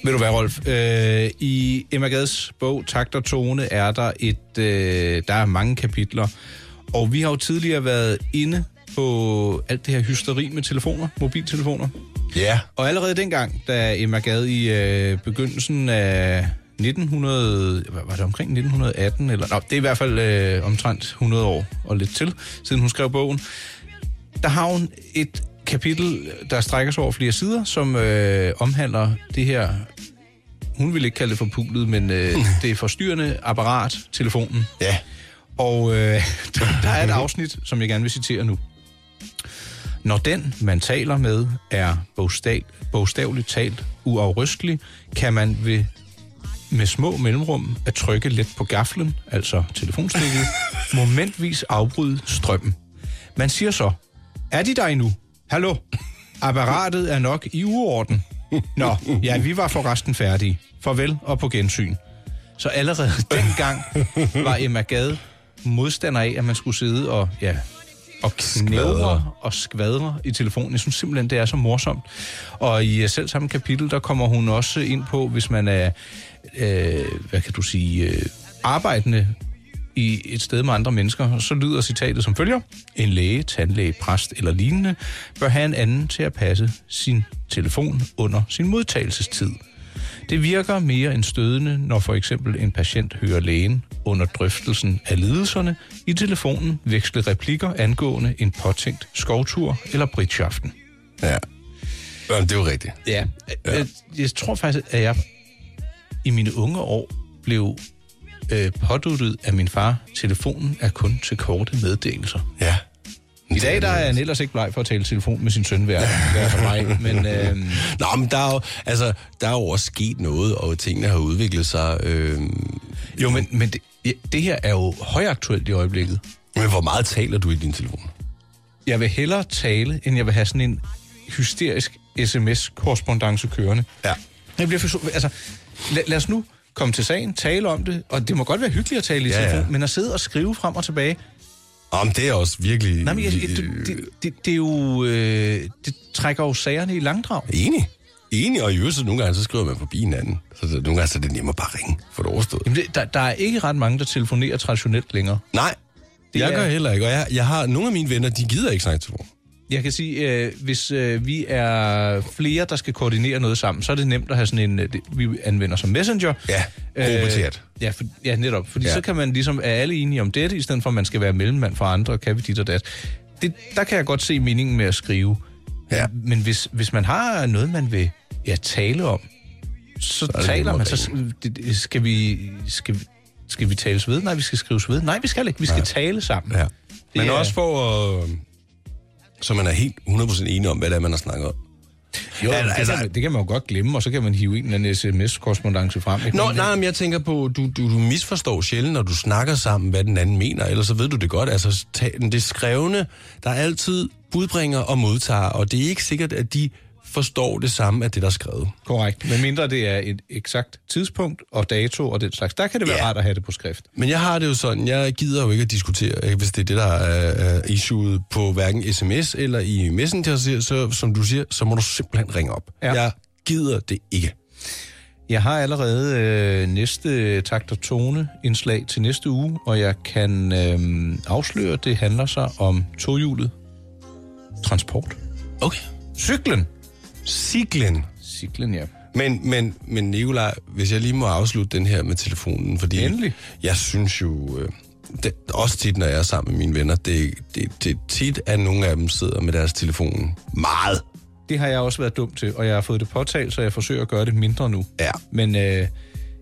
C: Ved du hvad, Rolf? Øh, I Emma Gads bog Takt og Tone er der et, øh, der er mange kapitler. Og vi har jo tidligere været inde på alt det her hysteri med telefoner, mobiltelefoner.
B: ja.
C: Og allerede dengang, da Emma Gad i øh, begyndelsen af 1900, hvad var det omkring 1918, eller nå, det er i hvert fald øh, omtrent 100 år og lidt til, siden hun skrev bogen, der har hun et kapitel, der strækker sig over flere sider, som øh, omhandler det her, hun vil ikke kalde det for pulet, men øh, det forstyrrende apparat, telefonen.
B: Ja.
C: Og øh, der- der er et afsnit, som jeg gerne vil citere nu. Når den, man taler med, er bogstav, bogstaveligt talt uafrystelig, kan man ved med små mellemrum at trykke let på gaflen, altså telefonstikket, momentvis afbryde strømmen. Man siger så, er de der endnu? Hallo? Apparatet er nok i uorden. Nå, ja, vi var forresten færdige. Farvel og på gensyn. Så allerede dengang var Emma Gade modstander af, at man skulle sidde og, ja, og knævre
B: Skvadre.
C: og skvadre i telefonen. Jeg synes simpelthen, det er så morsomt. Og i øh, selv samme kapitel, der kommer hun også ind på, hvis man er, øh, hvad kan du sige, øh, arbejdende i et sted med andre mennesker, så lyder citatet som følger. En læge, tandlæge, præst eller lignende bør have en anden til at passe sin telefon under sin modtagelsestid. Det virker mere end stødende, når for eksempel en patient hører lægen under drøftelsen af lidelserne i telefonen veksle replikker angående en påtænkt skovtur eller britsjaften.
B: Ja. Jamen, det er jo rigtigt.
C: Ja. Jeg, jeg tror faktisk, at jeg i mine unge år blev øh, påduttet af min far, telefonen er kun til korte meddelelser.
B: Ja.
C: I dag der er han ellers ikke bleg for at tale i telefon med sin søn, hver hver for mig. Men øh,
B: Nå, men der er, jo, altså, der er jo også sket noget, og tingene har udviklet sig. Øh,
C: jo, men, men det, ja, det her er jo højaktuelt i øjeblikket.
B: men hvor meget taler du i din telefon?
C: Jeg vil hellere tale, end jeg vil have sådan en hysterisk sms korrespondance kørende.
B: Ja.
C: Jeg bliver forstå, altså, lad, lad os nu komme til sagen, tale om det, og det må godt være hyggeligt at tale i
B: Ja, ja.
C: telefon, men at sidde og skrive frem og tilbage,
B: Om det er også virkelig...
C: Nej, men jeg, det, det, det, det er jo... Øh, det trækker jo sagerne i langdrag.
B: Enig. Enig, og i øvrigt, så nogle gange, så skriver man forbi hinanden. Så, så nogle gange, så er det nemmere bare at ringe, for det overstået.
C: Jamen, det, der, der er ikke ret mange, der telefonerer traditionelt længere.
B: Nej, det jeg
C: er-
B: gør heller ikke, og jeg, jeg har nogle af mine venner, de gider ikke snakke telefon.
C: Jeg kan sige, øh, hvis øh, vi er flere, der skal koordinere noget sammen, så er det nemt at have sådan en... Øh, det, vi anvender som messenger. Øh,
B: Ja, gruppe til at.
C: ja, for, ja, netop. Fordi
B: Ja.
C: ja. så kan man ligesom... Er alle enige om dette, i stedet for, at man skal være mellemmand for andre, og kan vi dit og dat. Det, der kan jeg godt se meningen med at skrive.
B: Ja.
C: Men hvis, hvis man har noget, man vil ja, tale om, så,
B: er
C: så
B: det
C: taler
B: nemmere
C: man,
B: at
C: så det- det- skal vi, skal, vi- skal vi tales ved? Nej, vi skal skrives ved. Nej, vi skal ikke. Vi skal ja. tale sammen.
B: Ja. Men
C: er-
B: også for at... Så man er helt 100% enig om, hvad det er, man har snakket om.
C: Jo,
B: Ja,
C: ja,
B: altså-
C: altså, det, kan man, det kan man jo godt glemme, og så kan man hive en eller anden sms-korrespondence frem. ikke?
B: Nå, nej, men øh, jeg tænker på, du, du, du misforstår sjældent, når du snakker sammen, hvad den anden mener, ellers så ved du det godt. Altså, ta- det skrevne, der er altid budbringer og modtager, og det er ikke sikkert, at de forstår det samme af det, der er skrevet.
C: Korrekt. Men mindre det er et eksakt tidspunkt og dato og den slags, der kan det være
B: Ja.
C: ja. rart at have det på skrift.
B: Men jeg har det jo sådan, jeg gider jo ikke at diskutere, ikke? hvis det er det, der er, er issueet på hverken sms eller i messenger, så, så som du siger, så må du simpelthen ringe op. Ja.
C: Ja.
B: Jeg gider det ikke.
C: Jeg har allerede øh, næste takt og tone indslag til næste uge, og jeg kan øh, afsløre, at det handler sig om tohjulet transport.
B: Okay.
C: Cyklen.
B: Siglen.
C: Cyklen, ja.
B: Men, men, men Nikolaj, hvis jeg lige må afslutte den her med telefonen, fordi
C: Endelig.
B: jeg synes jo, øh, det, også tit, når jeg er sammen med mine venner, det, det, det er tit, at nogle af dem sidder med deres telefon meget.
C: Det har jeg også været dum til, og jeg har fået det påtalt, så jeg forsøger at gøre det mindre nu.
B: Ja.
C: Men øh,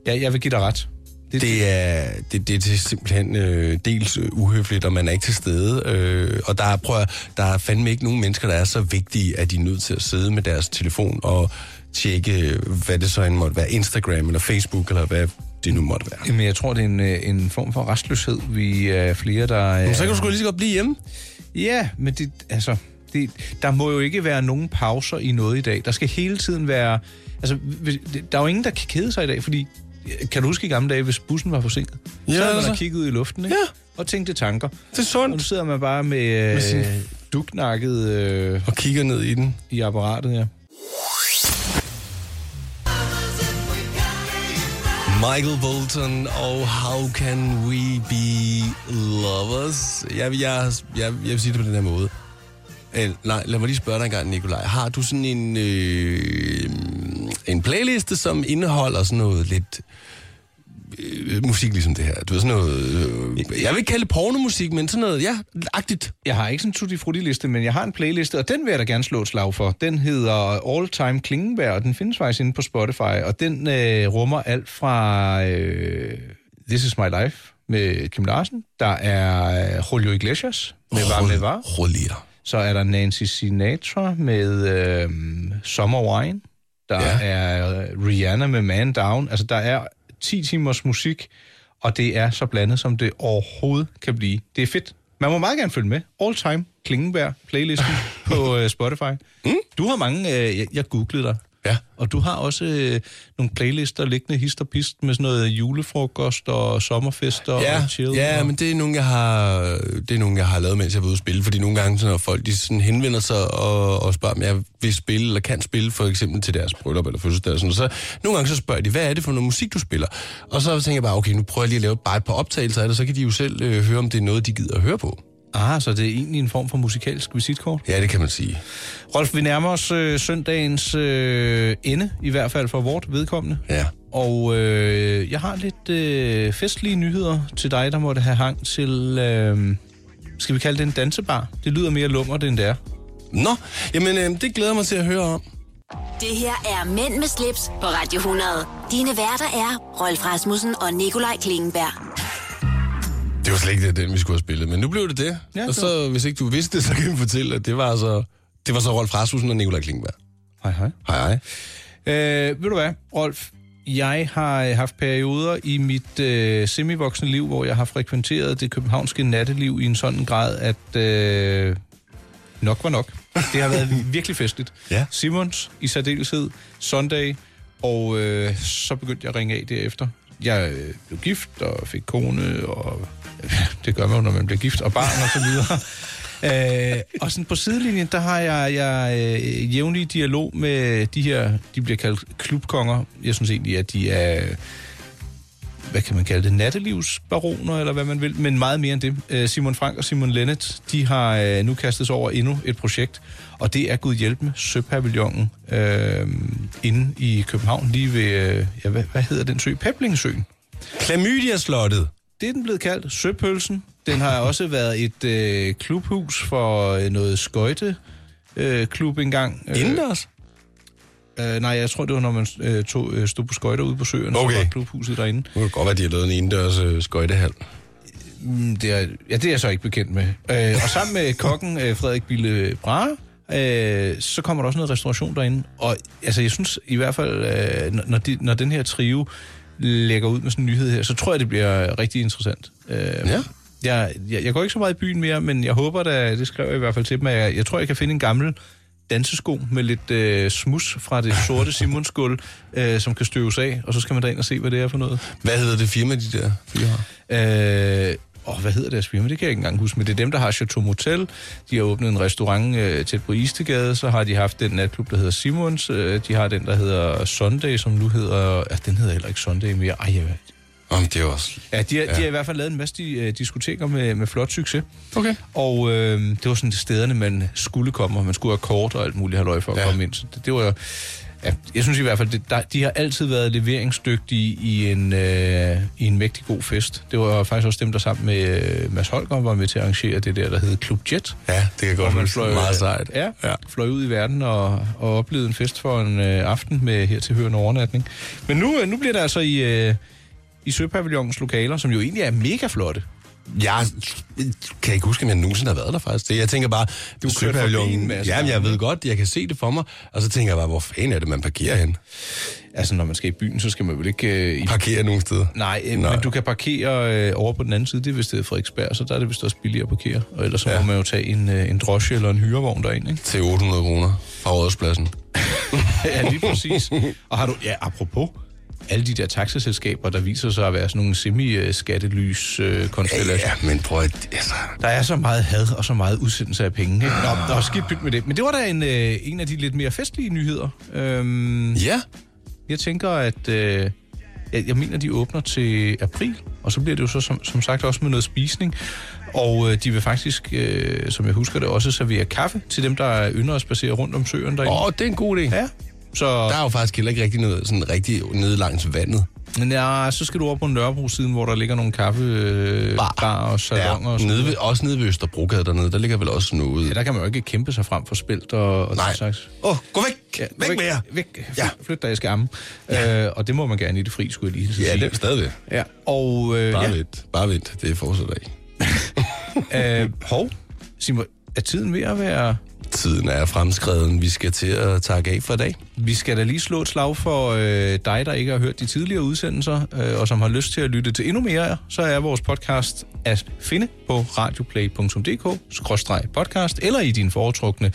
C: ja, jeg vil give dig ret. Det,
B: Det er, det, det er simpelthen øh, dels øh, uhøfligt, og man er ikke til stede. Øh, og der er, prøv at, der er fandme ikke nogen mennesker, der er så vigtige, at de er nødt til at sidde med deres telefon og tjekke, øh, hvad det så end måtte være, Instagram eller Facebook, eller hvad det nu måtte være.
C: Jamen, jeg tror, det er en, øh, en form for restløshed. Vi er flere, der... øh,
B: Så kan du sgu lige så godt blive hjemme.
C: Ja, men det, altså, det, der må jo ikke være nogen pauser i noget i dag. Der skal hele tiden være... Altså, hvis- der er jo ingen, der kan kede sig i dag, fordi... øh, Kan du huske i gamle dage, hvis bussen var forsinket? Ja, så havde man
B: altså.
C: altså. kigget ud i luften, ikke?
B: Ja.
C: Og tænkte tanker.
B: Det er
C: Og nu
B: sundt.
C: sidder man bare med, øh, med
B: sin-
C: sin... duknakket øh,
B: Og kigger ned i den.
C: i apparatet, ja.
B: Michael Bolton og How Can We Be Lovers? Jeg, jeg, jeg, jeg vil sige det på den her måde. El, nej, lad mig lige spørge dig en gang, Nikolaj. Har du sådan en, øh, en playliste, som indeholder sådan noget lidt øh, musik ligesom det her? Du ved, sådan noget... Øh, jeg vil ikke kalde det pornomusik, men sådan noget, ja, agtigt.
C: Jeg har ikke sådan en tutti frutti liste, men jeg har en playliste, og den vil jeg da gerne slå et slag for. Den hedder All Time Klingenberg, og den findes faktisk inde på Spotify, og den øh, rummer alt fra øh, This Is My Life med Kim Larsen, der er øh, Julio Iglesias med Var med Var,
B: Rullier.
C: så er der Nancy Sinatra med øh, Summer Wine, der
B: Ja.
C: ja. er øh, Rihanna med Man Down, altså der er 10 timers musik, og det er så blandet, som det overhovedet kan blive. Det er fedt. Man må meget gerne følge med. All Time Klingenberg playlisten på øh, Spotify. Mm. Du har mange, øh, jeg, jeg googlede dig.
B: Ja.
C: Og du har også øh, nogle playlister liggende hist og pist med sådan noget julefrokost og sommerfester
B: Ja,
C: og chill.
B: ja
C: og...
B: men det er nogle, jeg har, det er nogle, jeg har lavet, mens jeg var ude at spille. Fordi nogle gange, så når folk de sådan henvender sig og, og spørger, om jeg vil spille eller kan spille, for eksempel til deres bryllup eller fødselsdag, og sådan, noget, så nogle gange så spørger de, hvad er det for noget musik, du spiller? Og så tænker jeg bare, okay, nu prøver jeg lige at lave bare et par optagelser af det, så kan de jo selv øh, høre, om det er noget, de gider at høre på.
C: Ah, så det er egentlig en form for musikalsk visitkort.
B: Ja, det kan man sige.
C: Rolf, vi nærmer os øh, søndagens øh, ende, i hvert fald for vort vedkommende.
B: Ja.
C: Og øh, jeg har lidt øh, festlige nyheder til dig, der måtte have hang til, øh, skal vi kalde det en dansebar? Det lyder mere lummert, end det er.
B: Nå, jamen øh, det glæder jeg mig til at høre om.
A: Det her er Mænd med slips på Radio 100. Dine værter er Rolf Rasmussen og Nikolaj Klingenberg.
B: Det var slet ikke det, den, vi skulle have spillet, men nu blev det det.
C: Ja,
B: Ja,
C: det
B: og så, hvis ikke du vidste det, så kan vi fortælle, at det var altså, det var så Rolf Rasmussen og Nikolaj Klingberg.
C: Hej hej.
B: Hej, hej.
C: Øh, ved du hvad, Rolf? Jeg har øh, haft perioder i mit øh, semivoksne liv, hvor jeg har frekventeret det københavnske natteliv i en sådan grad, at øh, nok var nok. Det har været virkelig festligt.
B: Ja.
C: Simons i særdeleshed, Sunday, og øh, så begyndte jeg at ringe af derefter. Jeg øh, blev gift og fik kone, og det gør man jo, når man bliver gift, og barn og så videre. Øh, og sådan på sidelinjen, der har jeg, jeg øh, jævnlig dialog med de her, de bliver kaldt klubkonger. Jeg synes egentlig, at de er hvad kan man kalde det, nattelivsbaroner, eller hvad man vil, men meget mere end det. Øh, Simon Frank og Simon Lennet, de har øh, nu kastet sig over endnu et projekt, og det er Gud hjælp med Søpavillonen øh, inde i København, lige ved, øh, ja, hvad, hvad hedder den sø? Peblingsøen.
B: Klamydia-slottet.
C: Det er den blevet kaldt, Søpølsen. Den har også været et øh, klubhus for øh, noget skøjte, øh, klub engang. Øh,
B: Indendørs?
C: Øh, nej, jeg tror, det var, når man øh, tog, øh, stod på skøjter ude på søen, okay.
B: Okay.
C: så var klubhuset derinde.
B: Nu kan det godt være, de har lavet en indendørs øh, skøjtehal.
C: Mm, Det er, ja, det er jeg så ikke bekendt med. Øh, og sammen med kokken øh, Frederik Bille Brahe, øh, så kommer der også noget restauration derinde. Og altså, jeg synes i hvert fald, øh, når- når, de, når den her trio lægger ud med sådan en nyhed her, så tror jeg, det bliver rigtig interessant. Øh,
B: Ja.
C: Jeg, jeg, jeg går ikke så meget i byen mere, men jeg håber da, det skrev jeg i hvert fald til dem, at jeg, jeg tror, jeg kan finde en gammel dansesko med lidt øh, smus fra det sorte Simons gulv, øh, som kan støves af, og så skal man derind og se, hvad det er for noget.
B: Hvad hedder det firma, de der fyre har?
C: Øh, og hvad hedder deres firma? Det kan jeg ikke engang huske, men det er dem, der har Chateau Motel. De har åbnet en restaurant øh, tæt på Istegade, så har de haft den natklub, der hedder Simons. Øh, de har den, der hedder Sunday, som nu hedder... Ja, den hedder heller ikke Sunday mere. Ej, jeg ved det.
B: Om det er også...
C: Ja, de har, ja. de har i hvert fald lavet en masse øh, diskoteker med, med flot succes.
B: Okay.
C: Og øh, det var sådan de stederne, man skulle komme, og man skulle have kort og alt muligt halvøj for at ja.
B: Ja.
C: komme ind. Så det, det var jo... Ja, jeg synes i hvert fald, det, der, de har altid været leveringsdygtige i en, øh, i en mægtig god fest. Det var faktisk også dem, der sammen med øh, Mads Holger var med til at arrangere det der, der hed Club Jet.
B: Ja, det kan jeg godt
C: Man
B: huske. Meget sejt.
C: Ja, ja.
B: ja.
C: fløj ud i verden og, og oplevede en fest for en øh, aften med her til hørende overnatning. Men nu, øh, nu bliver det altså i, øh, i Søpavillonens lokaler, som jo egentlig er mega flotte.
B: Jeg kan ikke huske, om jeg nogensinde har været der faktisk. Det, jeg tænker bare... Du
C: kørte forbi en masse
B: Jamen, jeg
C: gange.
B: ved godt, jeg kan se det for mig. Og så tænker jeg bare, hvor fanden er det, man parkerer hen?
C: Altså, når man skal i byen, så skal man vel ikke øh, i
B: Parkerer nogen steder?
C: Nej, øh,
B: Nej.
C: men du kan parkere øh, over på den anden side, det er vist det er Frederiksberg, så der er det vist også billigere at parkere. Og ellers så ja.
B: Ja.
C: må man jo tage en, øh, en drosje eller en hyrevogn derind, ikke?
B: Til 800 kroner fra rådspladsen.
C: ja, lige præcis. Og har du, ja, apropos, alle de der taxaselskaber, der viser sig at være sådan nogle øh, semi-skattelys-konstellationer.
B: Ja, men prøv at... Altså,
C: Der er så meget had og så meget udsendelse af penge. Ikke? Nå, der er skidt pyt med det. Men det var da en, øh, en af de lidt mere festlige nyheder. Øhm,
B: ja,
C: Jeg tænker, at øh, jeg, jeg mener, de åbner til april, og så bliver det jo så som, som sagt også med noget spisning. Og øh, de vil faktisk, øh, som jeg husker det, også servere kaffe til dem, der ynder at spacere rundt om søen derinde.
B: Åh, det er en god idé.
C: Ja. Så
B: Der er jo faktisk heller ikke rigtig noget sådan rigtig nede langs vandet.
C: ja, så skal du over på Nørrebro-siden, hvor der ligger nogle kaffe, øh,
B: Bar.
C: bar og salonger. og sådan
B: nede
C: noget.
B: ved, også nede ved Østerbrogade dernede, der ligger vel også noget.
C: Ja, der kan man jo ikke kæmpe sig frem for spilt og, og
B: Nej.
C: den slags.
B: Åh, oh, gå væk!
C: Ja,
B: Ja, væk med jer!
C: Væk.
B: Ja.
C: Flyt, flyt dig, jeg skal amme. Ja. Øh, og det må man gerne i det fri, skulle jeg lige hilse at
B: Ja,
C: sige.
B: det er stadigvæk.
C: Ja, og øh,
B: Bare
C: ja,
B: ja. vent, bare vent. Det fortsætter ikke.
C: Øh, hov, Simon, er tiden ved at være...
B: Tiden er fremskreden. Vi skal til at takke af for i dag.
C: Vi skal da lige slå et slag for øh, dig, der ikke har hørt de tidligere udsendelser, øh, og som har lyst til at lytte til endnu mere, så er vores podcast at finde på radioplay.dk-podcast, eller i din foretrukne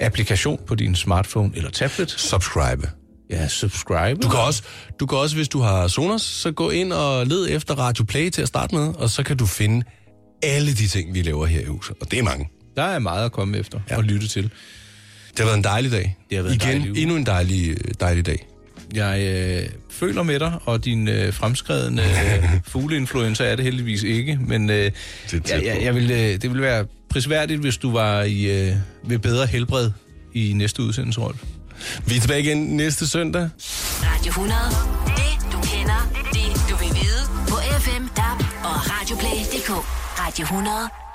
C: applikation på din smartphone eller tablet.
B: Subscribe.
C: Ja, subscribe.
B: Du kan, også, du kan også, hvis du har Sonos, så gå ind og led efter Radio Play til at starte med, og så kan du finde alle de ting, vi laver her i huset. Og det er mange.
C: Der er meget at komme efter og lytte til.
B: Det har været en dejlig dag.
C: Det har været en
B: Igen,
C: dejlig uge.
B: endnu en dejlig, øh, dejlig dag.
C: Jeg øh, føler med dig, og din øh, fremskredende øh, fugleinfluenza er det heldigvis ikke, men øh,
B: tæt
C: jeg, jeg,
B: på.
C: jeg vil, øh, det ville være prisværdigt, hvis du var i, øh, ved bedre helbred i næste udsendelse, Rolf.
B: Vi er tilbage igen næste søndag.
A: Radio 100. Det du kender, det du vil vide. På FM, DAB og Radioplay.dk. Radio 100.